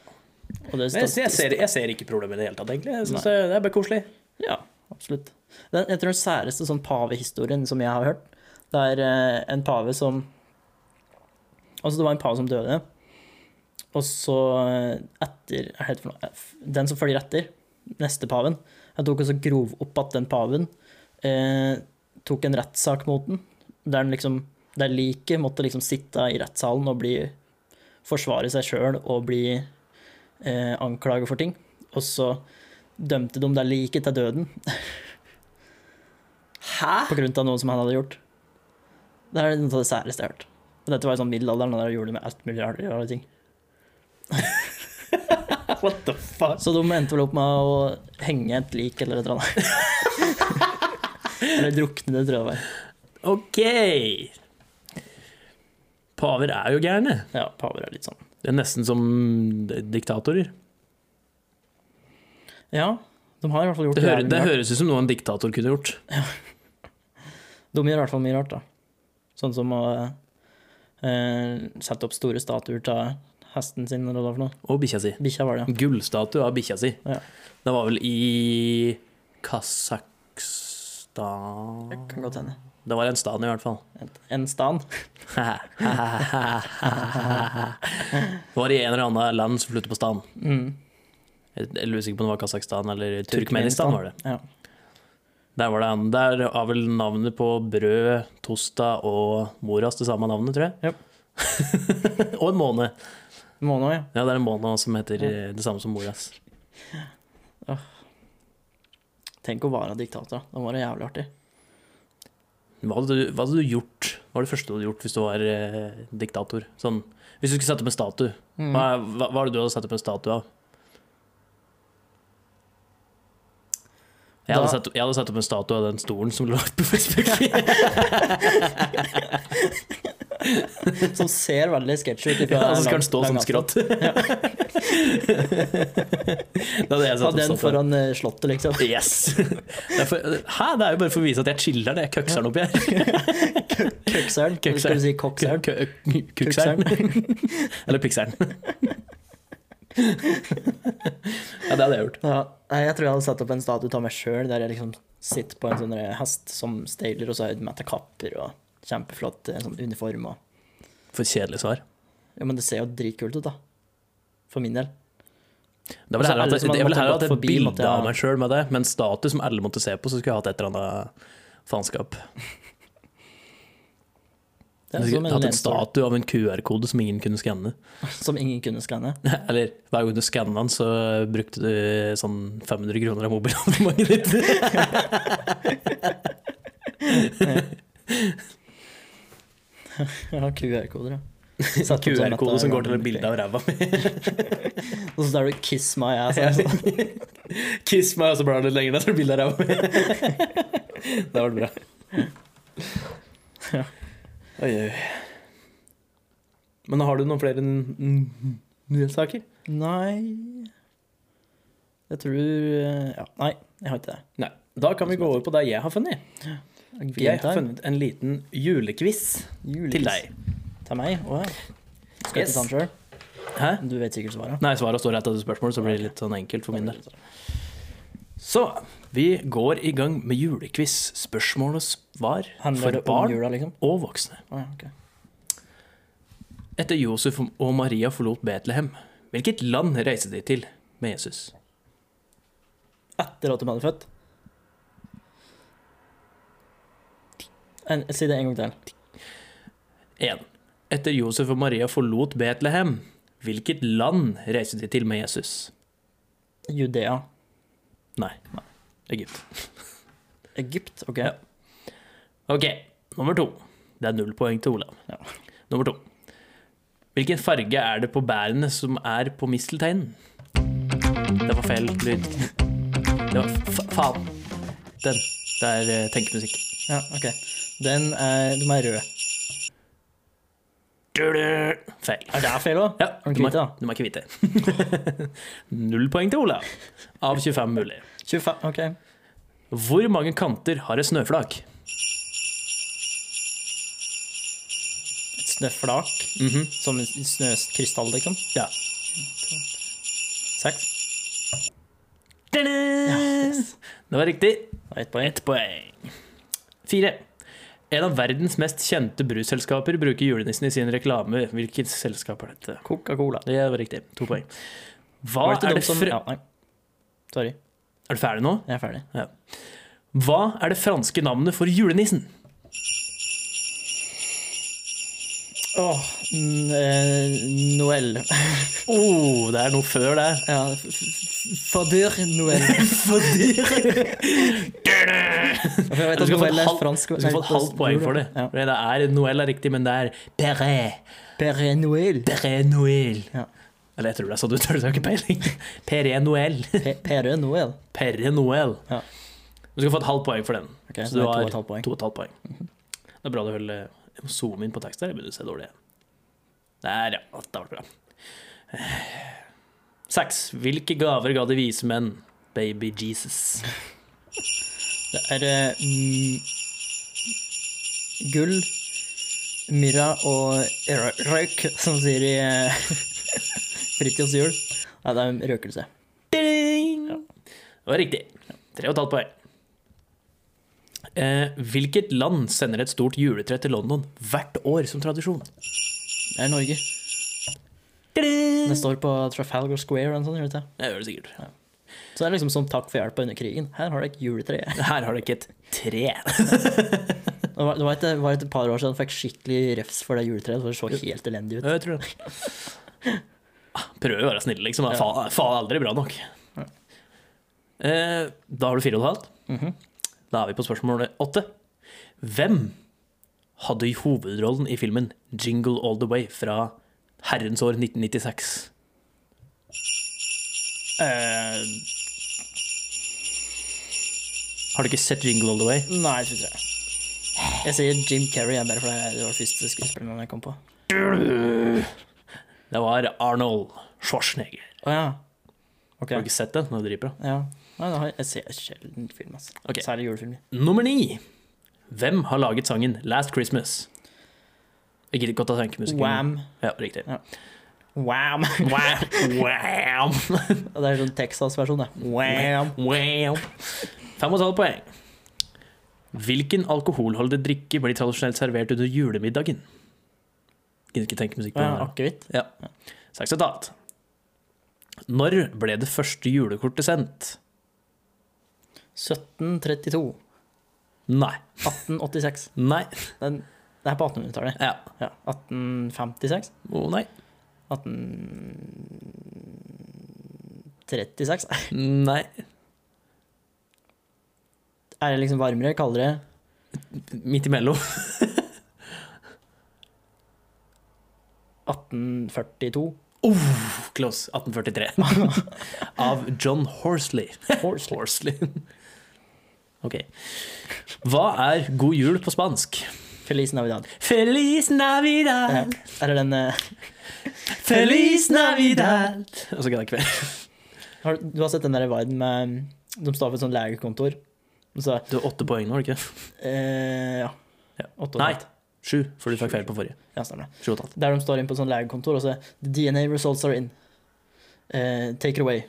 [SPEAKER 2] det
[SPEAKER 1] Men jeg, jeg, ser, jeg ser ikke problemet i det hele tatt, egentlig. Jeg synes det, det er bare koselig.
[SPEAKER 2] Ja, absolutt. Den, jeg tror den særeste sånn pavehistorien som jeg har hørt, det er eh, en pave som Altså, det var en pave som døde, og så eh, etter hva heter det for noe? eh, F- Den som følger etter, neste paven Jeg tok og så grov opp at den paven eh, tok en rettssak mot den, der den liksom der liket måtte liksom sitte i rettssalen og bli forsvare seg sjøl og bli eh, anklaget for ting. Og så dømte de det liket til døden
[SPEAKER 1] Hæ?
[SPEAKER 2] på grunn av noe som han hadde gjort. Det er noe av det særeste jeg har hørt. Men dette var i sånn middelalderen, og der gjorde de med alt mulig rare rare ting.
[SPEAKER 1] What the fuck?
[SPEAKER 2] Så de endte vel opp med å henge et lik eller et eller annet. eller drukne det, tror jeg det var.
[SPEAKER 1] Ok. Paver er jo gærne.
[SPEAKER 2] Ja, paver er litt sånn.
[SPEAKER 1] Det er nesten som diktatorer.
[SPEAKER 2] Ja, de har i hvert fall gjort
[SPEAKER 1] Det, hører,
[SPEAKER 2] jævlig
[SPEAKER 1] det
[SPEAKER 2] mye rart.
[SPEAKER 1] høres ut som noe en diktator kunne gjort.
[SPEAKER 2] De gjør i hvert fall mye rart, da. Sånn som å eh, sette opp store statuer av hesten sin, eller hva det var for noe.
[SPEAKER 1] Og bikkja si.
[SPEAKER 2] Bikkja var det, ja.
[SPEAKER 1] Gullstatue av bikkja si.
[SPEAKER 2] Ja.
[SPEAKER 1] Det var vel i Kasakhstan
[SPEAKER 2] Det kan godt hende.
[SPEAKER 1] Det var en stan, i hvert fall.
[SPEAKER 2] En stan.
[SPEAKER 1] det var i en eller annen land som slutter på stan.
[SPEAKER 2] Mm.
[SPEAKER 1] Jeg jeg lurer sikkert på om det var Kasakhstan eller
[SPEAKER 2] Turkmenistan.
[SPEAKER 1] Turkmenistan. var det.
[SPEAKER 2] Ja.
[SPEAKER 1] Der var det han. Der har vel navnet på brød, tosta og moras det samme navnet, tror jeg. og en måne.
[SPEAKER 2] Månå, ja.
[SPEAKER 1] Ja, det er en måne også som heter eh, det samme som moras.
[SPEAKER 2] Tenk å være diktator, da. Det var det jævlig artig.
[SPEAKER 1] Hva hadde, du, hva hadde du gjort? Hva var det første du hadde gjort hvis du var eh, diktator? Sånn, Mm.
[SPEAKER 2] Mm.
[SPEAKER 1] hvis du skulle sette opp en statue, hva, hva, hva var det du hadde satt opp en statue av? Jeg hadde,
[SPEAKER 2] Da-
[SPEAKER 1] satt, jeg hadde satt opp en statue av den stolen som lå på Facebook.
[SPEAKER 2] Som ser veldig sketsj ut. ifra
[SPEAKER 1] Ja, og så
[SPEAKER 2] lang-
[SPEAKER 1] skal den stå
[SPEAKER 2] lang
[SPEAKER 1] som
[SPEAKER 2] avstand.
[SPEAKER 1] skrått. da hadde jeg
[SPEAKER 2] Ha
[SPEAKER 1] satt sånn. opp
[SPEAKER 2] den
[SPEAKER 1] statuen.
[SPEAKER 2] foran eh, slottet, liksom.
[SPEAKER 1] Yes! Det er for, hæ? Det er jo bare for å vise at jeg chiller'n. Jeg køkser'n oppi her.
[SPEAKER 2] Køkseren.
[SPEAKER 1] Køkseren.
[SPEAKER 2] Skal du si kokseren?
[SPEAKER 1] Kø- kø- Kukser'n. Eller pikser'n. ja, det hadde jeg gjort.
[SPEAKER 2] Ja. Nei, jeg tror jeg hadde satt opp en statue av meg sjøl, der jeg liksom sitter på en sånn der hest som stailer, og så har jeg mette kapper og kjempeflott eh, sånn uniform og
[SPEAKER 1] For kjedelig svar.
[SPEAKER 2] Ja, men det ser jo dritkult ut, da. For min del.
[SPEAKER 1] Da ville jeg heller
[SPEAKER 2] Alle
[SPEAKER 1] hatt
[SPEAKER 2] som hadde
[SPEAKER 1] jeg ville
[SPEAKER 2] måttet
[SPEAKER 1] heller hatt
[SPEAKER 2] gått
[SPEAKER 1] et
[SPEAKER 2] forbi Altså, måtte
[SPEAKER 1] bilde
[SPEAKER 2] jeg-
[SPEAKER 1] av meg sjøl med det, men status som alle måtte se på, så skulle jeg hatt et eller annet faenskap. Jeg
[SPEAKER 2] Det er som
[SPEAKER 1] skulle
[SPEAKER 2] en
[SPEAKER 1] hatt en
[SPEAKER 2] lenestol
[SPEAKER 1] statue av en QR-kode som ingen kunne skanne.
[SPEAKER 2] som ingen kunne skanne.
[SPEAKER 1] Eller hver gang du skanna den, så brukte du sånn 500 kroner av mobilabonnementet ditt.
[SPEAKER 2] Ja, QR-koder, ja. Satt opp sånn at
[SPEAKER 1] QR-kode
[SPEAKER 2] det er
[SPEAKER 1] som går til et
[SPEAKER 2] random
[SPEAKER 1] bilde av ræva mi.
[SPEAKER 2] Og så der du 'kiss my ass'.
[SPEAKER 1] Ja. sånn,
[SPEAKER 2] altså.
[SPEAKER 1] Kiss meg, og så blar du litt lenger ned, så er det bilde av ræva mi. Da var det bra. Oi, oi. Men har du noen flere n- n- nyhetssaker?
[SPEAKER 2] Nei Jeg tror eh, Ja, nei, jeg har ikke det.
[SPEAKER 1] Nei. Da kan vi gå over på det jeg har funnet. For Jeg har funnet en liten julequiz til deg.
[SPEAKER 2] Til meg? Å ja. Skal jeg ikke
[SPEAKER 1] Yes.
[SPEAKER 2] ta den sjøl?
[SPEAKER 1] Hæ?
[SPEAKER 2] Du vet sikkert svaret.
[SPEAKER 1] Nei, svaret står rett etter spørsmålet, så blir det litt sånn enkelt for min del. Så vi går i gang med julequiz. Spørsmål og svar
[SPEAKER 2] Handler
[SPEAKER 1] for
[SPEAKER 2] det om
[SPEAKER 1] barn
[SPEAKER 2] jula, liksom?
[SPEAKER 1] og voksne.
[SPEAKER 2] Å ja, ok.
[SPEAKER 1] Etter Josef og Maria forlot Betlehem, hvilket land reiste de til med Jesus?
[SPEAKER 2] Etter at de hadde født? En, si det en gang til.
[SPEAKER 1] 1. Etter Josef og Maria forlot Betlehem, hvilket land reiste de til med Jesus?
[SPEAKER 2] Judea.
[SPEAKER 1] Nei. Egypt.
[SPEAKER 2] Egypt? OK.
[SPEAKER 1] Ja. Ok, nummer to. Det er null poeng til Olav.
[SPEAKER 2] Ja.
[SPEAKER 1] Nummer to. Hvilken farge er det på bærene som er på mistelteinen? Det var feil lyd. Det var fa faen. Den. Det er eh, tenkemusikk.
[SPEAKER 2] Ja, ok. Den er, de er røde.
[SPEAKER 1] Du-du. Feil.
[SPEAKER 2] Er det feil òg?
[SPEAKER 1] Ja,
[SPEAKER 2] Er de
[SPEAKER 1] du må-
[SPEAKER 2] hvite, da?
[SPEAKER 1] Du må ikke vite. null poeng til Olav. Av 25 mulig.
[SPEAKER 2] 25, ok.
[SPEAKER 1] Hvor mange kanter har et snøflak?
[SPEAKER 2] Et snøflak,
[SPEAKER 1] Mhm.
[SPEAKER 2] som en snøkrystall, liksom.
[SPEAKER 1] Ja.
[SPEAKER 2] Seks.
[SPEAKER 1] Du-du. Det var riktig.
[SPEAKER 2] Det er ett
[SPEAKER 1] Og
[SPEAKER 2] poeng.
[SPEAKER 1] ett poeng. Fire. En av verdens mest kjente brusselskaper bruker julenissen i sin reklame. Hvilket selskap er dette?
[SPEAKER 2] Coca-Cola.
[SPEAKER 1] Det var riktig. To poeng. Hva
[SPEAKER 2] Var ikke
[SPEAKER 1] er,
[SPEAKER 2] de
[SPEAKER 1] det
[SPEAKER 2] som-
[SPEAKER 1] fr-
[SPEAKER 2] Ja, nei. Sorry,
[SPEAKER 1] er du ferdig nå?
[SPEAKER 2] jeg er ferdig.
[SPEAKER 1] Hva er det franske navnet for julenissen?
[SPEAKER 2] Åh, n- eh, Noël.
[SPEAKER 1] Oh, det er noe før det.
[SPEAKER 2] Ja, f- f- Fadur Noël. For jeg vet
[SPEAKER 1] Du
[SPEAKER 2] at
[SPEAKER 1] skal få et
[SPEAKER 2] Noël er
[SPEAKER 1] halvt-
[SPEAKER 2] fransk.
[SPEAKER 1] Du skal få et halvt poeng for det.
[SPEAKER 2] Ja.
[SPEAKER 1] For Det er Noël er riktig, men det er Perret.
[SPEAKER 2] Père Noël.
[SPEAKER 1] Perret Noël.
[SPEAKER 2] Ja.
[SPEAKER 1] Eller jeg tror det er sånn du tør, det har ikke peiling. Perret Noël.
[SPEAKER 2] P- Père Noël.
[SPEAKER 1] Perre Noel.
[SPEAKER 2] Ja.
[SPEAKER 1] Du skal få et halvt poeng for den.
[SPEAKER 2] Ok,
[SPEAKER 1] Så
[SPEAKER 2] så
[SPEAKER 1] du
[SPEAKER 2] det er to
[SPEAKER 1] har-
[SPEAKER 2] og et halvt poeng.
[SPEAKER 1] To og et halvt poeng.
[SPEAKER 2] Mhm.
[SPEAKER 1] Det er bra du holder Jeg må zoome inn på tekst her. Jeg begynner å se dårlig. Der, ja. Det var bra. Eh, Seks. Hvilke gaver ga de vise menn? Baby Jesus.
[SPEAKER 2] Det er eh, mm, gull, myrra og rø- røyk, som de sier i eh, Fritjofs jul. Nei, det er en røkelse.
[SPEAKER 1] Ding!
[SPEAKER 2] Ja.
[SPEAKER 1] Det var riktig. Tre og et halvt poeng. Eh, hvilket land sender et stort juletre til London hvert år som tradisjon?
[SPEAKER 2] Det er Norge.
[SPEAKER 1] Ding!
[SPEAKER 2] Det står på Trafalgar Square og sånn, gjør det ikke?
[SPEAKER 1] Det gjør det sikkert.
[SPEAKER 2] Så det er liksom som takk for hjelpa under krigen. Her har dere et juletre.
[SPEAKER 1] Her har du ikke et tre.
[SPEAKER 2] Det var, det var, et, var et par år siden jeg fikk skikkelig refs for det juletreet, for det så helt elendig ut.
[SPEAKER 1] Ja, jeg tror det. Ah, Prøver å være snill, liksom. Det er
[SPEAKER 2] Ja.
[SPEAKER 1] faen, faen aldri bra nok.
[SPEAKER 2] Ja.
[SPEAKER 1] Eh, da har du fire og et halvt.
[SPEAKER 2] Mhm.
[SPEAKER 1] Da er vi på spørsmålet åtte. Hvem hadde i hovedrollen i filmen 'Jingle All The Way' fra herrens år 1996?
[SPEAKER 2] Eh,
[SPEAKER 1] Har du ikke sett Jingle All The Way?
[SPEAKER 2] Nei, jeg tror ikke det. Jeg sier Jim Carrey, jeg bare fordi det var det første skuespilleren jeg kom på. Å
[SPEAKER 1] Det var Arnold Schwarzenegger.
[SPEAKER 2] ja. Ok.
[SPEAKER 1] Har du ikke sett det? Nå driper
[SPEAKER 2] Ja. Nei, da har jeg, jeg ser sjelden film, altså.
[SPEAKER 1] Ok.
[SPEAKER 2] Særlig julefilmer.
[SPEAKER 1] jeg. Nummer ni. Hvem har laget sangen Last Christmas? Jeg gidder ikke å ta tankemusikken.
[SPEAKER 2] Wham.
[SPEAKER 1] Ja, riktig.
[SPEAKER 2] Wham.
[SPEAKER 1] Wham, wham,
[SPEAKER 2] Det er sånn Texas-versjon, det. Wham.
[SPEAKER 1] wham. Fem og et halvt poeng. Hvilken alkoholholdig drikke blir tradisjonelt servert under julemiddagen? Gidder ikke tenke musikk på
[SPEAKER 2] Ja,
[SPEAKER 1] den. her.
[SPEAKER 2] Akevitt.
[SPEAKER 1] Sagt sitat. Når ble det første julekortet sendt?
[SPEAKER 2] 1732.
[SPEAKER 1] Nei.
[SPEAKER 2] 1886.
[SPEAKER 1] Nei.
[SPEAKER 2] Den, det er på 1800-tallet.
[SPEAKER 1] Ja.
[SPEAKER 2] Ja. 1856.
[SPEAKER 1] Å nei.
[SPEAKER 2] 1836.
[SPEAKER 1] Nei.
[SPEAKER 2] Er det liksom varmere, kaldere?
[SPEAKER 1] Midt imellom.
[SPEAKER 2] 1842?
[SPEAKER 1] Close. 1843. Av John Horsley.
[SPEAKER 2] Horsley.
[SPEAKER 1] Horsley. Ok. Hva er god jul på spansk?
[SPEAKER 2] Feliz Navidad.
[SPEAKER 1] Feliz
[SPEAKER 2] Ja.
[SPEAKER 1] Navidad,
[SPEAKER 2] Er det den eh,
[SPEAKER 1] feliz Navidad. Og så kan jeg ikke mer.
[SPEAKER 2] har, Du har sett den der viden med mm, De står på et sånt legekontor. Og så
[SPEAKER 1] Du har åtte poeng nå, har du ikke?
[SPEAKER 2] eh, Ja.
[SPEAKER 1] Ja.
[SPEAKER 2] Åtte og
[SPEAKER 1] Nei,
[SPEAKER 2] et halvt.
[SPEAKER 1] sju, for du fikk feil på forrige.
[SPEAKER 2] Ja, stemmer det.
[SPEAKER 1] Sju og et halvt.
[SPEAKER 2] Der de står inn på et sånt legekontor, og så The DNA results are in. Eh, take it away.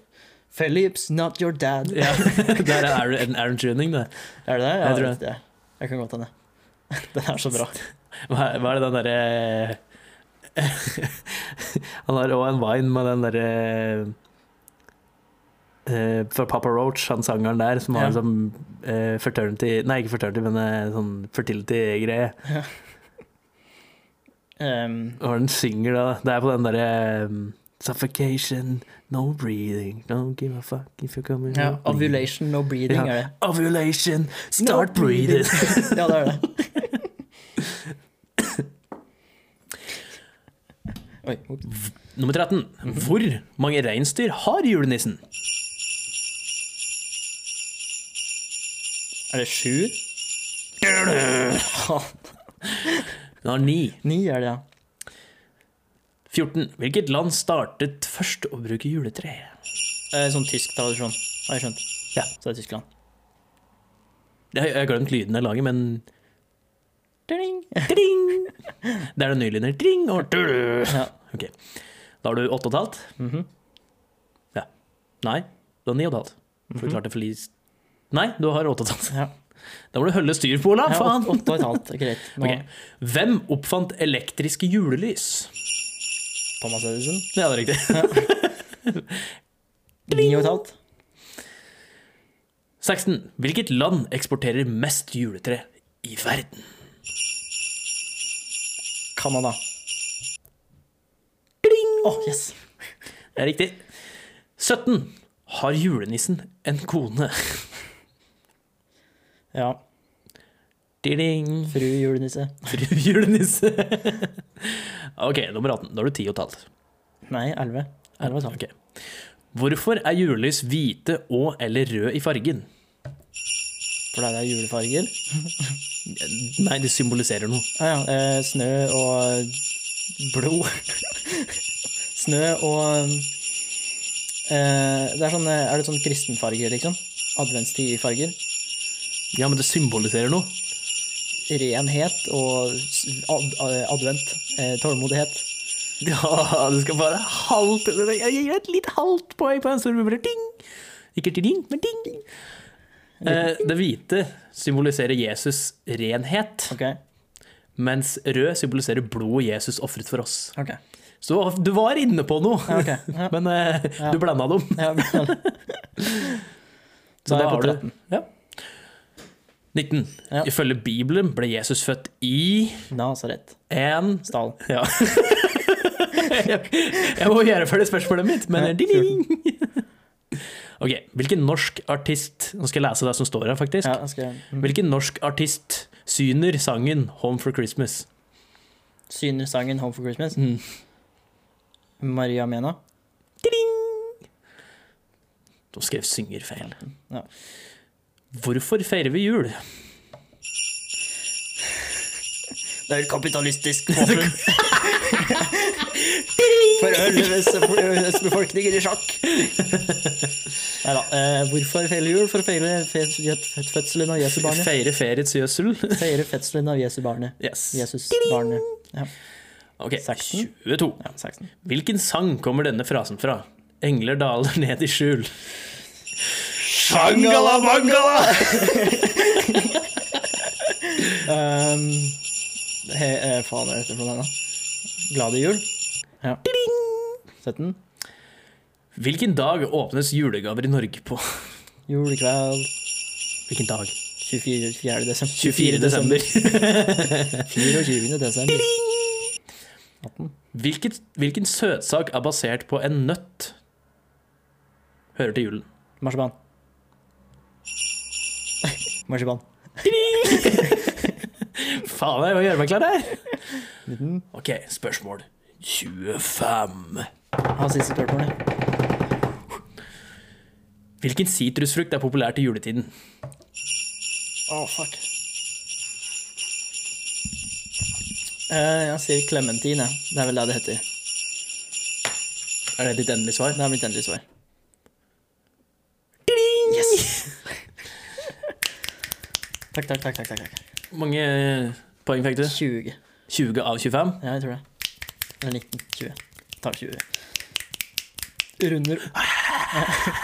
[SPEAKER 2] Philip's not your dad.
[SPEAKER 1] Ja, der er Aaron- en Aaron Tuning, det.
[SPEAKER 2] Er det det?
[SPEAKER 1] Jeg tror det.
[SPEAKER 2] det. Jeg kan godt hende. Den er så bra.
[SPEAKER 1] Hva er, hva er det den derre eh, Han har òg en vine med den derre eh, Fra Papa Roach, han sangeren der, som har
[SPEAKER 2] Ja.
[SPEAKER 1] sånn eh, fraternity Nei, ikke fraternity, men eh, sånn fertility-greie.
[SPEAKER 2] Ehm,
[SPEAKER 1] Og den synger da Det er på den derre eh, Suffocation, no breathing, don't give a fuck if you're coming
[SPEAKER 2] ja,
[SPEAKER 1] or bleeding.
[SPEAKER 2] ovulation, no breathing,
[SPEAKER 1] Ja.
[SPEAKER 2] er det.
[SPEAKER 1] Ovulation, start
[SPEAKER 2] No
[SPEAKER 1] breathing.
[SPEAKER 2] ja, det er det. Oi. ups.
[SPEAKER 1] Nummer 13. Hvor mange reinsdyr har julenissen?
[SPEAKER 2] Er det sju?
[SPEAKER 1] Den har ni.
[SPEAKER 2] Ni er det, ja.
[SPEAKER 1] 14. Hvilket land startet først å bruke juletre?
[SPEAKER 2] Eh, Sånn tysk tradisjon, har jeg skjønt.
[SPEAKER 1] Ja.
[SPEAKER 2] Så det er Tyskland.
[SPEAKER 1] Jeg jeg har glemt lyden jeg lager, men
[SPEAKER 2] Ding!
[SPEAKER 1] dring! Det er den nye lyden. Dring og dø.
[SPEAKER 2] Ja.
[SPEAKER 1] Ok. Da har du åtte og et halvt.
[SPEAKER 2] Mhm.
[SPEAKER 1] Nei, du har ni og et halvt. For du klarte forlis... Nei, du har åtte og et halvt.
[SPEAKER 2] Mhm. Ja.
[SPEAKER 1] Da må du holde styr på, Ola!
[SPEAKER 2] Ja,
[SPEAKER 1] Ah, Faen!
[SPEAKER 2] åt- Åtte og et halvt. Greit. Nå,
[SPEAKER 1] Ok. Hvem oppfant elektriske julelys?
[SPEAKER 2] Thomas Edison.
[SPEAKER 1] Ja, det er riktig.
[SPEAKER 2] Ni og et halvt.
[SPEAKER 1] 16. Hvilket land eksporterer mest juletre i verden?
[SPEAKER 2] Canada.
[SPEAKER 1] Dring!
[SPEAKER 2] Åh, yes!
[SPEAKER 1] Det er riktig. 17. Har julenissen en kone?
[SPEAKER 2] Ja.
[SPEAKER 1] Ding!
[SPEAKER 2] Fru julenisse.
[SPEAKER 1] Fru julenisse. ok, nummer 18. Da har du ti og et halvt.
[SPEAKER 2] Nei, elleve. Elleve og et halvt.
[SPEAKER 1] Ok. Hvorfor er julelys hvite og eller rød i fargen?
[SPEAKER 2] For der er julefarger.
[SPEAKER 1] Nei, det symboliserer noe.
[SPEAKER 2] Ah, ja. eh, snø og blod. snø og eh, Det er sånn eh, Er det sånn kristenfarger, liksom? Adventstidfarger.
[SPEAKER 1] Ja, men det symboliserer noe.
[SPEAKER 2] Renhet og s- ad, eh, advent. Eh, tålmodighet.
[SPEAKER 1] Ja, du skal bare halvt Jeg gir et litt halvt poeng på den store bubler. Ding! Ikke til ding, men ding. Eh, det hvite symboliserer Jesus' renhet,
[SPEAKER 2] Ok.
[SPEAKER 1] mens rød symboliserer blodet Jesus ofret for oss.
[SPEAKER 2] ok.
[SPEAKER 1] Så du var inne på noe,
[SPEAKER 2] Ja, ok. Ja.
[SPEAKER 1] men eh, du
[SPEAKER 2] Ja.
[SPEAKER 1] blanda dem.
[SPEAKER 2] Ja, men- Da er jeg på 13.
[SPEAKER 1] Ja. 19.
[SPEAKER 2] Ja.
[SPEAKER 1] Ifølge Bibelen ble Jesus født i
[SPEAKER 2] Nasaret.
[SPEAKER 1] en
[SPEAKER 2] Stal.
[SPEAKER 1] Ja. jeg må gjøre ferdig spørsmålet mitt, men eh,
[SPEAKER 2] Ja,
[SPEAKER 1] ding, ding. Ok, hvilken norsk artist Nå skal jeg lese det som står her, faktisk.
[SPEAKER 2] Ja, jeg skal, mm.
[SPEAKER 1] Hvilken norsk artist syner sangen 'Home for Christmas'?
[SPEAKER 2] Syner sangen 'Home for Christmas'.
[SPEAKER 1] Mm.
[SPEAKER 2] Maria Mena.
[SPEAKER 1] De skrev 'synger' feil.
[SPEAKER 2] Ja.
[SPEAKER 1] Hvorfor feirer vi jul?
[SPEAKER 2] Det er et kapitalistisk våpen. For å holde ØS befolkningen i sjakk. Nei da. Eh, hvorfor feile jul? For å feile fe- fe- fødselen av Jesu barnet.
[SPEAKER 1] Feire feriets jøsel?
[SPEAKER 2] Feire fødselen av Jesu barnet.
[SPEAKER 1] Yes.
[SPEAKER 2] Jesus barnet. Ja.
[SPEAKER 1] Ok,
[SPEAKER 2] Seksten.
[SPEAKER 1] 22.
[SPEAKER 2] ja, 16.
[SPEAKER 1] Hvilken sang kommer denne frasen fra? Engler daler ned i skjul.
[SPEAKER 2] Shangala bangala! um, he, eh, faen, hva er dette for noe, da? Glade jul? Ja. 17.
[SPEAKER 1] Hvilken dag åpnes julegaver i Norge på?
[SPEAKER 2] Julekveld.
[SPEAKER 1] Hvilken dag?
[SPEAKER 2] 24. desember.
[SPEAKER 1] 24. desember.
[SPEAKER 2] 24. desember. 18.
[SPEAKER 1] Hvilket, hvilken søtsak er basert på en nøtt? Hører til julen.
[SPEAKER 2] Marsipan. Marsipan.
[SPEAKER 1] Faen, jeg må gjøre meg klar her!
[SPEAKER 2] 19.
[SPEAKER 1] Ok, spørsmål 25.
[SPEAKER 2] Ha siste spørsmålet.
[SPEAKER 1] Hvilken sitrusfrukt er populær til juletiden?
[SPEAKER 2] Å, fuck. Eh, jeg sier clementin, jeg. Det er vel det det heter.
[SPEAKER 1] Er det ditt endelige svar?
[SPEAKER 2] Det er mitt endelige svar.
[SPEAKER 1] Yes!
[SPEAKER 2] Takk, takk, takk. takk, takk, takk.
[SPEAKER 1] Hvor mange poeng fikk du?
[SPEAKER 2] 20.
[SPEAKER 1] 20 av 25?
[SPEAKER 2] Ja, jeg tror det. Eller 19. 20. Tar 20. Runder opp.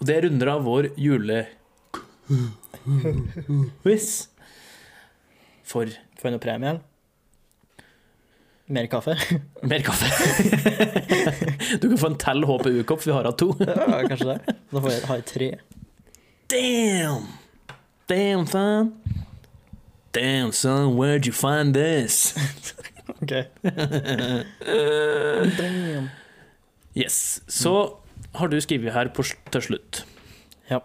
[SPEAKER 1] Og det runder av vår julequiz for
[SPEAKER 2] Får jeg noe premie, eller? Mer kaffe?
[SPEAKER 1] mer kaffe. Du kan få en tell HPU-kopp, vi har hatt to.
[SPEAKER 2] Ja, kanskje det. Da får jeg, har jeg tre.
[SPEAKER 1] Damn! Damn, son. Damn, son, where'd you find this? Eh,
[SPEAKER 2] Ok. Damn.
[SPEAKER 1] Yes. Så har du skrevet her på, sl- til slutt.
[SPEAKER 2] Ja.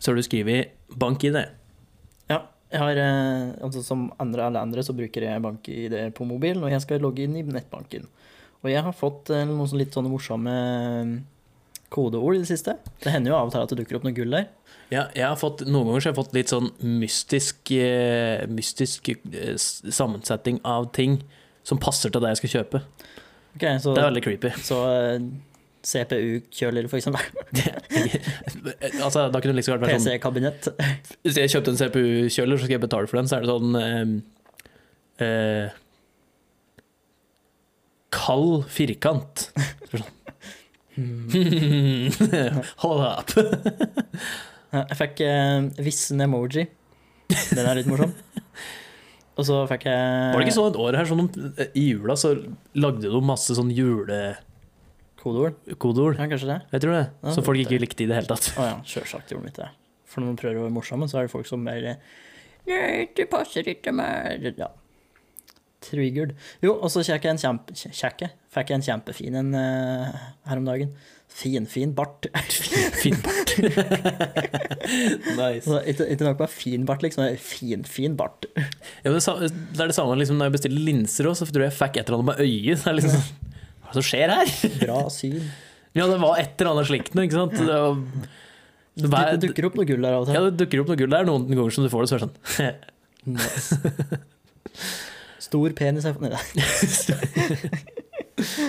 [SPEAKER 1] Så har du skrevet bank-ID.
[SPEAKER 2] Ja. Jeg har, eh, altså Som andre alle andre så bruker jeg BankID på mobilen, og jeg skal logge inn i nettbanken. Og jeg har fått eh, noen sånn litt sånne morsomme eh, kodeord i det siste. Det hender jo av og til at det dukker opp noe gull der.
[SPEAKER 1] Ja, jeg har fått, noen ganger så har jeg fått litt sånn mystisk, eh, mystisk eh, s- sammensetning av ting som passer til det jeg skal kjøpe.
[SPEAKER 2] Ok, Så,
[SPEAKER 1] Det er veldig creepy.
[SPEAKER 2] så eh, CPU-kjøler, for eksempel.
[SPEAKER 1] altså, da kunne det liksom vært bare sånn
[SPEAKER 2] PC-kabinett.
[SPEAKER 1] Hvis jeg kjøpte en CPU-kjøler, så skal jeg betale for den, så er det sånn eh, eh, Kald firkant. Så blir det Hmm. Sånn. Hold up.
[SPEAKER 2] Ja, Jeg fikk eh, vissen emoji. Den er litt morsom. Og så fikk jeg
[SPEAKER 1] Var det ikke sånn et år her, sånn, om- i jula, så lagde du masse sånn julekodeord?
[SPEAKER 2] kodeord? Ja, kanskje det.
[SPEAKER 1] Jeg tror det.
[SPEAKER 2] Ja,
[SPEAKER 1] Som folk
[SPEAKER 2] det-
[SPEAKER 1] ikke likte i det hele tatt.
[SPEAKER 2] Å ja, sjølsagt gjorde de ikke det. For når man prøver å være morsomme, så er det folk som er Nei, du passer ikke meg. Ja. Trygerd. Jo, og så kjekke en kjempe... Kjekke? Fikk jeg en kjempefin en eh, her om dagen. Finfin bart. Altså,
[SPEAKER 1] Fin bart. nice.
[SPEAKER 2] Så ikke, ikke nok med fin bart, liksom. det er Finfin bart.
[SPEAKER 1] Ja, men det, er sa- det er det samme liksom, når jeg bestiller linser òg, så tror jeg jeg fikk et eller annet med øyet. Så er det liksom, sånn, Hva er det som skjer her?
[SPEAKER 2] Bra syn.
[SPEAKER 1] Ja, det var et eller annet slikt noe, ikke sant? Det, var, det,
[SPEAKER 2] Det
[SPEAKER 1] var,
[SPEAKER 2] dukker opp noe gull der av og til.
[SPEAKER 1] ja, det dukker opp noe gull der noen ganger som du får det, sånn, så er det
[SPEAKER 2] Nice. Stor penis er Nei da.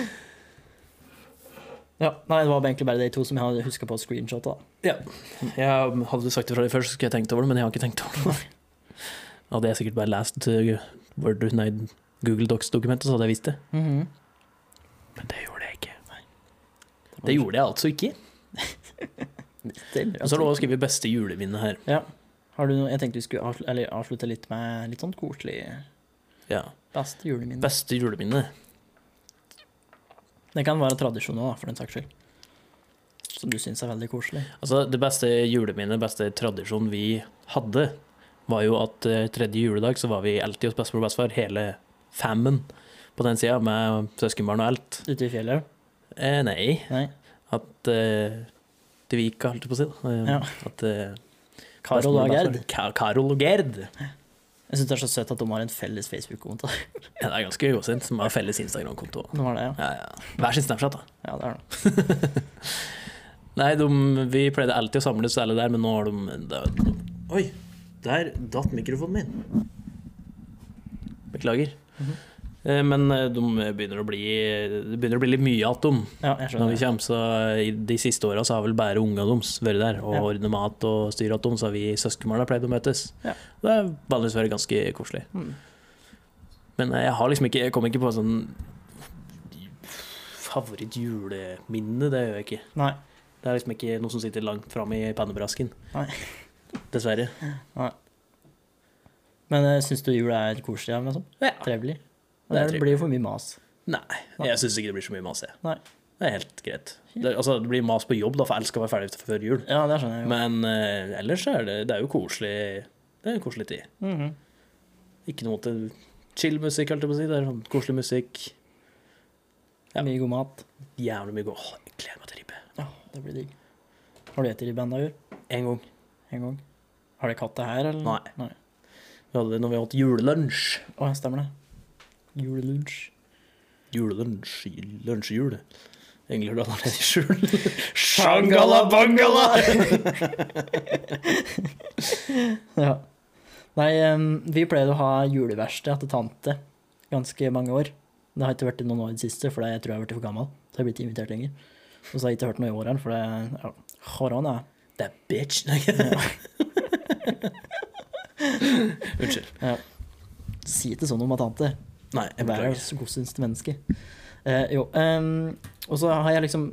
[SPEAKER 2] ja, nei, det var egentlig bare de to som jeg hadde huska på screenshot av.
[SPEAKER 1] sånn. Jeg hadde sagt det fra deg først, så skulle jeg tenkt over det, men jeg har ikke tenkt over det. Hadde jeg sikkert bare lest eh, Word, nei, Google Docs-dokumentet, så hadde jeg visst det. Men det gjorde jeg ikke. Det gjorde jeg altså ikke.
[SPEAKER 2] det.
[SPEAKER 1] Og så har du også skrevet 'beste juleminne' her.
[SPEAKER 2] Ja. Har du noe Jeg tenkte vi skulle avslutte, eller avslutte litt med litt sånn koselig
[SPEAKER 1] Ja.
[SPEAKER 2] Beste juleminne.
[SPEAKER 1] Beste juleminne.
[SPEAKER 2] Det kan være tradisjon òg, for den saks skyld. Som du syns er veldig koselig.
[SPEAKER 1] Altså, det beste juleminnet, beste tradisjonen vi hadde, var jo at eh, tredje juledag så var vi alltid hos bestemor og bestefar, hele fammen på den sida, med søskenbarn og alt.
[SPEAKER 2] Ute i fjellet?
[SPEAKER 1] Eh, nei,
[SPEAKER 2] Nei.
[SPEAKER 1] at eh, det vi ikke holdt på å si, da. Eh,
[SPEAKER 2] Ja.
[SPEAKER 1] At eh,
[SPEAKER 2] Karol og
[SPEAKER 1] bestemor
[SPEAKER 2] Gerd.
[SPEAKER 1] bestefar- sånn, Ka Karol og Gerd.
[SPEAKER 2] Jeg syns det er så søtt at de har en felles Facebook-konto.
[SPEAKER 1] Ja, det er ganske gåsehud, som har felles Instagram-konto.
[SPEAKER 2] De har det, ja.
[SPEAKER 1] Ja, ja. Hver sin Snapchat, da.
[SPEAKER 2] Ja, det er det.
[SPEAKER 1] Nei, de, vi pleide alltid å samles alle der, men nå har de da-
[SPEAKER 3] Oi, der datt mikrofonen min.
[SPEAKER 1] Beklager. Eh, Men eh, de begynner å bli, det begynner å bli litt mye av dem
[SPEAKER 2] Ja, jeg
[SPEAKER 1] når vi
[SPEAKER 2] skjønner.
[SPEAKER 1] kommer. Så i de siste åra har vel bare ungene deres vært der og
[SPEAKER 2] Ja.
[SPEAKER 1] ordnet mat og styret dem, så har vi søskenbarna pleid å møtes.
[SPEAKER 2] Ja.
[SPEAKER 1] Det har vanligvis vært ganske koselig.
[SPEAKER 2] Mm.
[SPEAKER 1] Men eh, jeg har liksom ikke Jeg kommer ikke på sånn favorittjuleminne, det gjør jeg ikke.
[SPEAKER 2] Nei.
[SPEAKER 1] Det er liksom ikke noe som sitter langt framme i pannebrasken.
[SPEAKER 2] Nei.
[SPEAKER 1] Dessverre.
[SPEAKER 2] Men uh, syns du jula er koselig? Ja, men sånn?
[SPEAKER 1] Ja.
[SPEAKER 2] Trevelig?
[SPEAKER 1] Det er
[SPEAKER 2] Det, blir jo for mye mas.
[SPEAKER 1] Jeg syns ikke det blir så mye mas, jeg.
[SPEAKER 2] Nei.
[SPEAKER 1] Det er helt greit. Det, er- altså, det blir mas på jobb, da, for alt skal være ferdig før jul.
[SPEAKER 2] Ja, det skjønner jeg jo.
[SPEAKER 1] Men eh, ellers er det, det er jo koselig. Det er en koselig tid.
[SPEAKER 2] Mhm.
[SPEAKER 1] Ikke noe til chill musikk, holdt jeg på å si. Det er sånn koselig musikk. Ja.
[SPEAKER 2] Mye god mat.
[SPEAKER 1] Jævlig mye god Åh, Jeg gleder meg til ribbe.
[SPEAKER 2] Ja, det blir digg. Har du spist ribbe ennå, Jur?
[SPEAKER 1] En gang.
[SPEAKER 2] En gang? Har de katt det her, eller?
[SPEAKER 1] Nei.
[SPEAKER 2] Nei.
[SPEAKER 1] Vi hadde det når vi hadde julelunsj.
[SPEAKER 2] Å, ja, stemmer det. Julelunsj.
[SPEAKER 1] Julelunsj, lunsjhjul. Engler du allerede i skjul?
[SPEAKER 2] ja. Nei, em, vi pleide å ha juleverksted til tante ganske mange år. Det har ikke vært i noen år i det siste, for jeg tror jeg har blitt for gammel. Så jeg har blitt invitert lenger. Og så har jeg ikke hørt noe i år her, for det ja, korona.
[SPEAKER 1] Det er bitch. Nei. Unnskyld.
[SPEAKER 2] Si ikke sånn om at tante.
[SPEAKER 1] Nei, jeg
[SPEAKER 2] Vær
[SPEAKER 1] beklager.
[SPEAKER 2] så godsynt menneske. Eh, jo. em, og så har jeg liksom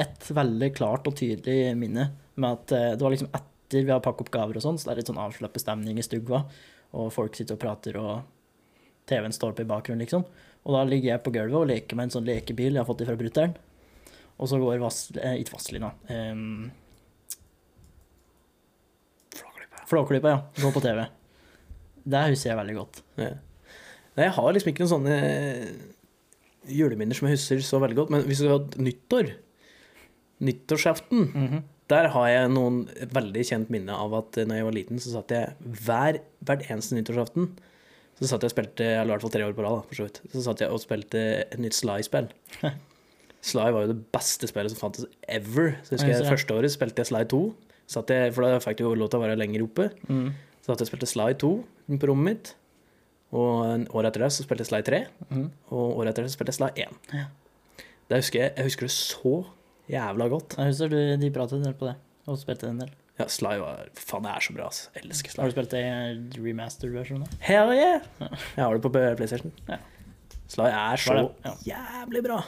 [SPEAKER 2] et veldig klart og tydelig minne med at eh, det var liksom etter vi har pakket opp gaver og sånn, så det er litt sånn avslappet stemning i stugva, og folk sitter og prater, og TV-en står på i bakgrunnen, liksom. Og da ligger jeg på gulvet og leker med en sånn lekebil jeg har fått fra brutter'n. Og så går Vass... Eh, ikke Vazelina. Um, Flåklypa. Flåklypa, ja. Går på TV. Det husker jeg veldig godt.
[SPEAKER 1] Ja. Nei, jeg har liksom ikke noen sånne eh, juleminner som jeg husker så veldig godt. Men hvis vi hadde nyttår, nyttårsaften,
[SPEAKER 2] Mhm.
[SPEAKER 1] der har jeg noen et veldig kjent minne av at eh, når jeg var liten, så satt jeg hver, hvert eneste nyttårsaften så satt jeg og spilte, eller i hvert fall tre år på rad, da, for så vidt, så satt jeg og spilte et nytt Sly-spill. Sly var jo det beste spillet som fantes ever. Så husker
[SPEAKER 2] Ja,
[SPEAKER 1] jeg
[SPEAKER 2] så-
[SPEAKER 1] Første året spilte jeg Sly 2, satt jeg, for da fikk jeg jo lov til å være lenger oppe.
[SPEAKER 2] Mm.
[SPEAKER 1] Så satt jeg og spilte Sly 2 på rommet mitt. Og en- året etter det så spilte jeg Sly 3,
[SPEAKER 2] Mhm.
[SPEAKER 1] og året etter det så spilte jeg Sly 1.
[SPEAKER 2] Ja.
[SPEAKER 1] Det husker jeg, jeg husker det så jævla godt.
[SPEAKER 2] Jeg husker du, de pratet en del på det, og spilte en del.
[SPEAKER 1] Ja, Sly var Faen, det er så bra, altså. Jeg elsker Sly.
[SPEAKER 2] Har du spilt det i remastered-versjonen? da?
[SPEAKER 1] Hell yeah! Jeg har det på PlayStation.
[SPEAKER 2] Ja.
[SPEAKER 1] Sly er så
[SPEAKER 2] Var det? Ja.
[SPEAKER 1] jævlig bra.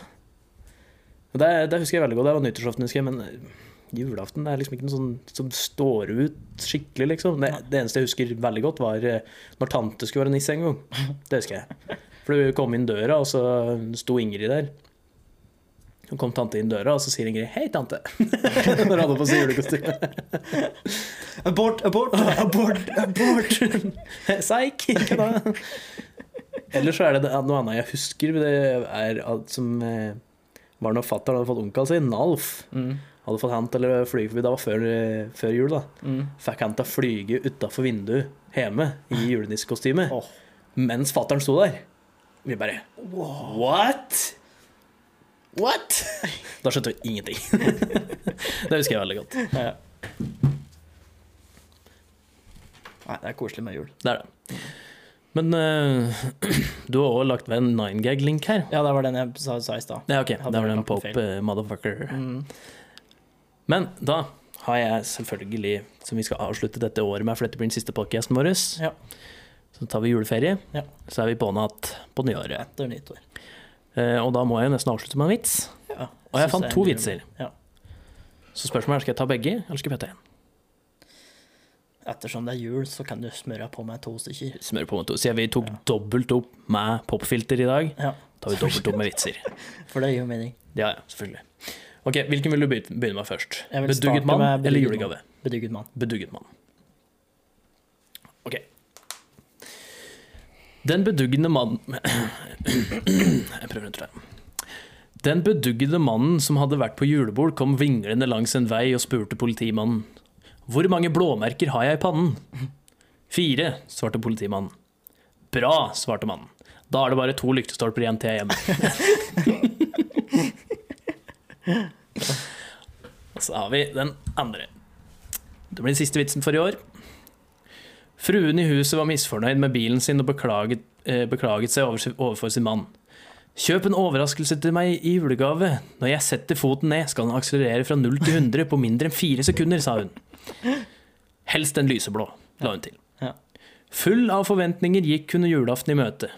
[SPEAKER 1] Og Det, det husker jeg veldig godt. Det var nyttårsaften, husker jeg. Men eh, julaften det er liksom ikke noe sånn som står ut skikkelig, liksom. Det, det eneste jeg husker veldig godt, var eh, når tante skulle være nisse en gang. Det husker jeg. For du kom inn døra, og så sto Ingrid der. Så kom tante inn døra, og så sier Ingrid 'Hei, tante'. Når hun hadde på seg julekostyme.
[SPEAKER 2] Abort, abort, abort, abort!
[SPEAKER 1] Seik, ikke da. Ellers så er det det- noe annet jeg husker, det er at som eh, var når fatter'n hadde fått onkelen sin, Nalf,
[SPEAKER 2] Mm.
[SPEAKER 1] hadde fått han til å flyge forbi, det var før, eh, før jul, da.
[SPEAKER 2] Mm.
[SPEAKER 1] Fikk han til å flyge utafor vinduet hjemme i julenissekostyme
[SPEAKER 2] Åh.
[SPEAKER 1] mens fatter'n sto der. Vi bare What? What? Da skjønte vi ingenting. det husker jeg veldig godt.
[SPEAKER 2] Ja, ja. Nei, det er koselig med jul.
[SPEAKER 1] Det er det. Men eh, du har òg lagt ved en 9gag-link her.
[SPEAKER 2] Ja, det var den jeg sa, sa i stad.
[SPEAKER 1] Ja, ok.
[SPEAKER 2] Hadde
[SPEAKER 1] Da var det
[SPEAKER 2] vært
[SPEAKER 1] en
[SPEAKER 2] lagt på
[SPEAKER 1] pop,
[SPEAKER 2] feil.
[SPEAKER 1] eh, motherfucker.
[SPEAKER 2] Mm.
[SPEAKER 1] Men da har jeg selvfølgelig, som vi skal avslutte dette året med, for dette blir den siste podcasten vår,
[SPEAKER 2] Ja.
[SPEAKER 1] så tar vi juleferie,
[SPEAKER 2] Ja.
[SPEAKER 1] så er vi på'n igjen på nyåret.
[SPEAKER 2] Etter nyttår.
[SPEAKER 1] Eh, og da må jeg jo nesten avslutte med en vits.
[SPEAKER 2] Ja.
[SPEAKER 1] Og jeg
[SPEAKER 2] Synes
[SPEAKER 1] fant
[SPEAKER 2] det er
[SPEAKER 1] to
[SPEAKER 2] en
[SPEAKER 1] vitser.
[SPEAKER 2] Ja.
[SPEAKER 1] Så spørsmålet er skal jeg ta begge, eller skal jeg putte én?
[SPEAKER 2] Ettersom det er jul, så kan du smøre på med to stykker.
[SPEAKER 1] Smør på med to. Siden vi tok
[SPEAKER 2] Ja.
[SPEAKER 1] dobbelt opp med popfilter i dag,
[SPEAKER 2] Ja,
[SPEAKER 1] tar vi dobbelt opp med vitser.
[SPEAKER 2] for det gir jo mening.
[SPEAKER 1] Ja, ja, selvfølgelig. Ok, Hvilken vil du begyn- begynne med først?
[SPEAKER 2] Jeg vil
[SPEAKER 1] Bedugget
[SPEAKER 2] starte
[SPEAKER 1] mann
[SPEAKER 2] med
[SPEAKER 1] eller
[SPEAKER 2] bedugget
[SPEAKER 1] julegave?
[SPEAKER 2] Bedugget mann.
[SPEAKER 1] Bedugget mann. Ok. Den beduggende mannen Jeg prøver en til. Den beduggede mannen som hadde vært på julebord, kom vinglende langs en vei og spurte politimannen. Hvor mange blåmerker har jeg i pannen? Fire, svarte politimannen. Bra, svarte mannen. Da er det bare to lyktestolper igjen til jeg er hjemme. Så har vi den andre. Det blir den siste vitsen for i år. Fruen i huset var misfornøyd med bilen sin og beklaget, eh, beklaget seg over, overfor sin mann. Kjøp en overraskelse til meg i julegave. Når jeg setter foten ned, skal den akselerere fra 0 til 100 på mindre enn fire sekunder, sa hun. Helst en lyseblå, la hun til.
[SPEAKER 2] Ja.
[SPEAKER 1] Full av forventninger gikk hun julaften i møte.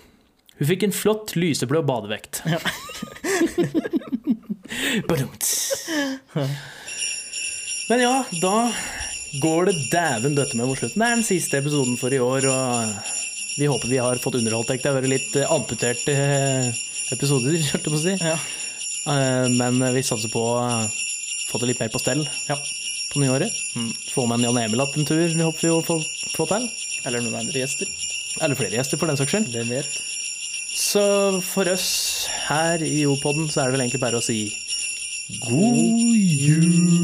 [SPEAKER 1] Hun fikk en flott lyseblå badevekt. Badumts. Men ja, da går det dæven døtte med mot slutten. Det er den siste episoden for i år, og vi håper vi har fått underholdt deg. Det har vært litt eh, amputerte eh, episoder, holdt jeg på å si.
[SPEAKER 2] Ja.
[SPEAKER 1] Eh, Men vi satser på å få det litt mer på stell
[SPEAKER 2] Ja.
[SPEAKER 1] på nyåret. Få med en Jan Emil att en tur, det håper vi å få, få til.
[SPEAKER 2] Eller noen andre gjester.
[SPEAKER 1] Eller flere gjester, for den saks skyld.
[SPEAKER 2] Hvem vet?
[SPEAKER 1] Så for oss her i Opodden så er det vel egentlig bare å si god jul!